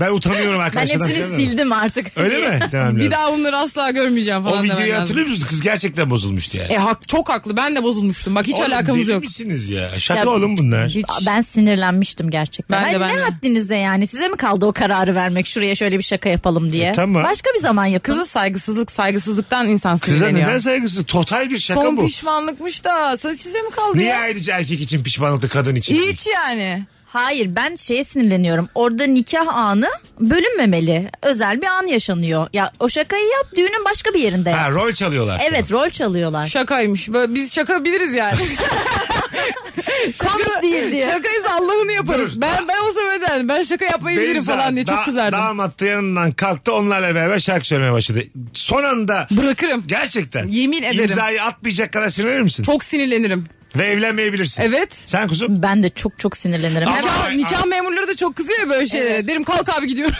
S1: Ben utanıyorum
S3: ben
S1: arkadaşlardan.
S3: hepsini
S1: falan ama.
S3: sildim artık.
S1: Öyle mi? Tamam,
S3: bir
S1: evet.
S3: daha bunları asla görmeyeceğim falan
S1: O
S3: demen
S1: videoyu
S3: lazım.
S1: hatırlıyor musunuz? Kız gerçekten bozulmuştu yani.
S3: E hak, çok haklı ben de bozulmuştum. Bak hiç
S1: Oğlum,
S3: alakamız
S1: deli
S3: yok.
S1: misiniz ya? Şaka
S2: Ya-
S1: oğlum bunlar.
S2: Ben sinirlenmiştim gerçekten.
S3: Ben
S2: Ben,
S3: de, ben
S2: ne
S3: de.
S2: haddinize yani? Size mi kaldı o kararı vermek? Şuraya şöyle bir şaka yapalım diye.
S1: tamam.
S2: Başka bir zaman yapın.
S3: E, Kızı saygısızlık saygısızlıktan insan
S1: Kıza
S3: sinirleniyor.
S1: neden saygısız? Total bir şaka
S3: Son
S1: bu.
S3: pişmanlıkmış da sen- size mi kaldı
S1: Niye
S3: ya?
S1: ayrıca erkek için pişmanlıktı kadın için? değil?
S3: Hiç yani.
S2: Hayır ben şeye sinirleniyorum. Orada nikah anı bölünmemeli. Özel bir an yaşanıyor. Ya o şakayı yap düğünün başka bir yerinde yap.
S1: Ha, rol çalıyorlar.
S2: Evet rol çalıyorlar.
S3: Şakaymış. Böyle biz şaka biliriz yani.
S2: Komik değil diye.
S3: Şakayız Allah'ını yaparız. Ben ben o zaman ederim. Ben şaka yapmayı bilirim
S1: Beyza
S3: falan diye
S1: da-
S3: çok kızardım.
S1: Damat da yanından kalktı onlarla beraber şarkı söylemeye başladı. Son anda.
S3: Bırakırım.
S1: Gerçekten.
S3: Yemin ederim.
S1: İmzayı atmayacak kadar sinirlenir misin?
S3: Çok sinirlenirim.
S1: Ve evlenmeyebilirsin.
S3: Evet.
S1: Sen kuzum.
S2: Ben de çok çok sinirlenirim.
S1: Ama-
S3: Nikah,
S1: Ay,
S3: nikah
S1: ay.
S3: memurları da çok kızıyor ya böyle şeylere. Derim kalk abi gidiyorum.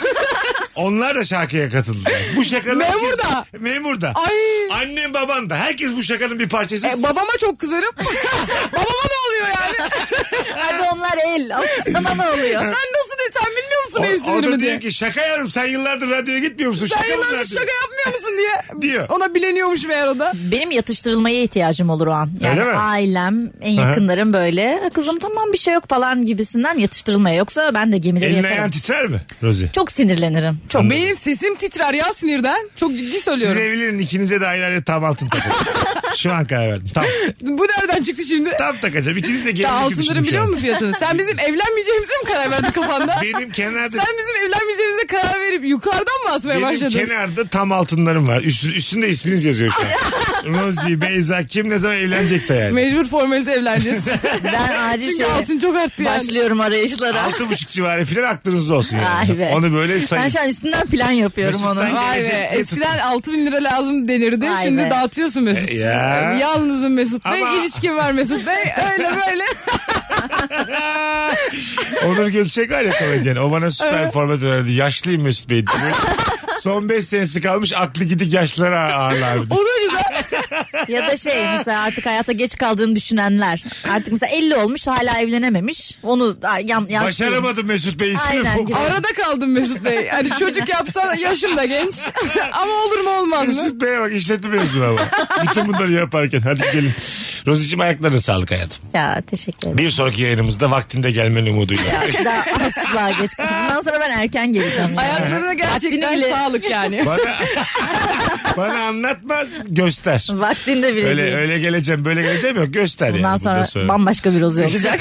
S1: Onlar da şarkıya katıldılar. Bu şakanın
S3: Memur
S1: herkes-
S3: da.
S1: Memur da.
S3: Ay.
S1: Annem baban da. Herkes bu şakanın bir parçası.
S3: E, babama çok kızarım. babama ne oluyor yani?
S2: Hadi onlar el. Ama Sana ne
S3: Sen
S2: oluyor?
S3: nasıl de sen bilmiyor musun
S1: O-
S3: benim
S1: o da
S3: sinirimi diye.
S1: diyor ki şaka yavrum sen yıllardır radyoya gitmiyor musun?
S3: Sen
S1: bunlar
S3: yıllardır
S1: diyor.
S3: şaka yapmıyor musun diye.
S1: Diyor.
S3: Ona bileniyormuş meğer o da.
S2: Benim yatıştırılmaya ihtiyacım olur o an. Yani
S1: Öyle mi?
S2: ailem, en
S1: Aha.
S2: yakınlarım böyle. "Ha, Kızım tamam bir şey yok falan gibisinden yatıştırılmaya. Yoksa ben de gemileri
S1: Elin
S2: yakarım.
S1: ayağın titrer mi Rozi?
S2: Çok sinirlenirim. Çok.
S3: Benim sesim titrer ya sinirden. Çok ciddi
S1: Siz
S3: söylüyorum.
S1: evlenin ikinize de ayrı ayrı tam altın takın. Şu an karar verdim. Tam.
S3: Bu nereden çıktı şimdi?
S1: Tam takacağım. İkiniz de gelin
S3: Sen
S1: yükü düşünün
S3: altınların
S1: şu
S3: biliyor
S1: an.
S3: musun fiyatını? Sen bizim evlenmeyeceğimize mi karar verdin kafanda?
S1: Benim kenarda
S3: Sen bizim evlenmeyeceğimize karar verip yukarıdan mı atmaya
S1: benim
S3: başladın?
S1: kenarda tam altınlarım var. Üst, üstünde isminiz yazıyor şu an. Rozi, Beyza kim ne zaman evlenecekse yani.
S3: Mecbur formalite evleneceğiz.
S2: Ben acil
S3: Çünkü
S2: şeye
S3: altın çok arttı yani.
S2: başlıyorum arayışlara.
S1: Altı buçuk civarı filan aklınızda olsun yani.
S2: Ay be.
S1: Onu böyle sayın.
S2: Ben şu an üstünden plan yapıyorum
S1: Mesut'tan
S2: onu.
S3: Vay
S1: gelecek
S3: be.
S1: Mesut.
S3: Eskiden 6 bin lira lazım denirdi.
S2: Vay
S3: Şimdi
S2: be.
S3: dağıtıyorsun Mesut.
S1: E, ya.
S3: Yalnızım Mesut Bey.
S1: Ama-
S3: ilişkin var Mesut Bey. Öyle böyle.
S1: Onur Gökçek var ya komedyen. O bana süper format önerdi. Yaşlıyım Mesut Bey diyor. Son 5 senesi kalmış aklı gidik yaşlılara ağırlar.
S3: O da güzel.
S2: Ya da şey mesela artık hayata geç kaldığını düşünenler. Artık mesela 50 olmuş hala evlenememiş. Onu a- yan, yan
S1: Başaramadım Mesut Bey ismi
S2: Aynen,
S1: bu.
S2: güzel.
S3: Arada kaldım Mesut Bey. Hani çocuk yapsan yaşım da genç. Ama olur mu olmaz mı?
S1: Mesut Bey'e bak işletme mezunu ama. Bütün bunları yaparken hadi gelin. Rozi'cim ayaklarına sağlık hayatım.
S2: Ya teşekkür ederim.
S1: Bir sonraki yayınımızda vaktinde gelmen umuduyla.
S2: Daha asla geç kaldım. Bundan sonra ben erken geleceğim. ya.
S3: Hayatlarına gerçekten
S2: Vaktini bile-
S3: sağlık yani.
S1: bana, bana anlatma göster.
S2: Vaktinde bile
S1: Öyle
S2: değil.
S1: öyle geleceğim böyle geleceğim yok göster
S2: Bundan
S3: Ee,
S1: yani.
S2: sonra, bambaşka bir rozi olacak.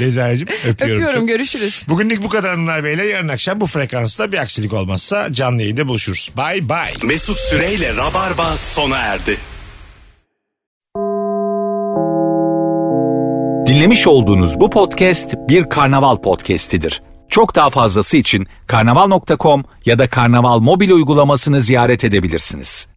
S1: Beyza'cığım öpüyorum.
S3: Öpüyorum
S1: çok.
S3: görüşürüz.
S1: Bugünlük bu kadar hanımlar beyler. Yarın akşam bu frekansta bir aksilik olmazsa canlı yayında buluşuruz. Bay bay.
S9: Mesut Süreyle Rabarba sona erdi.
S12: Dinlemiş olduğunuz bu podcast bir karnaval podcastidir. Çok daha fazlası için karnaval.com ya da karnaval mobil uygulamasını ziyaret edebilirsiniz.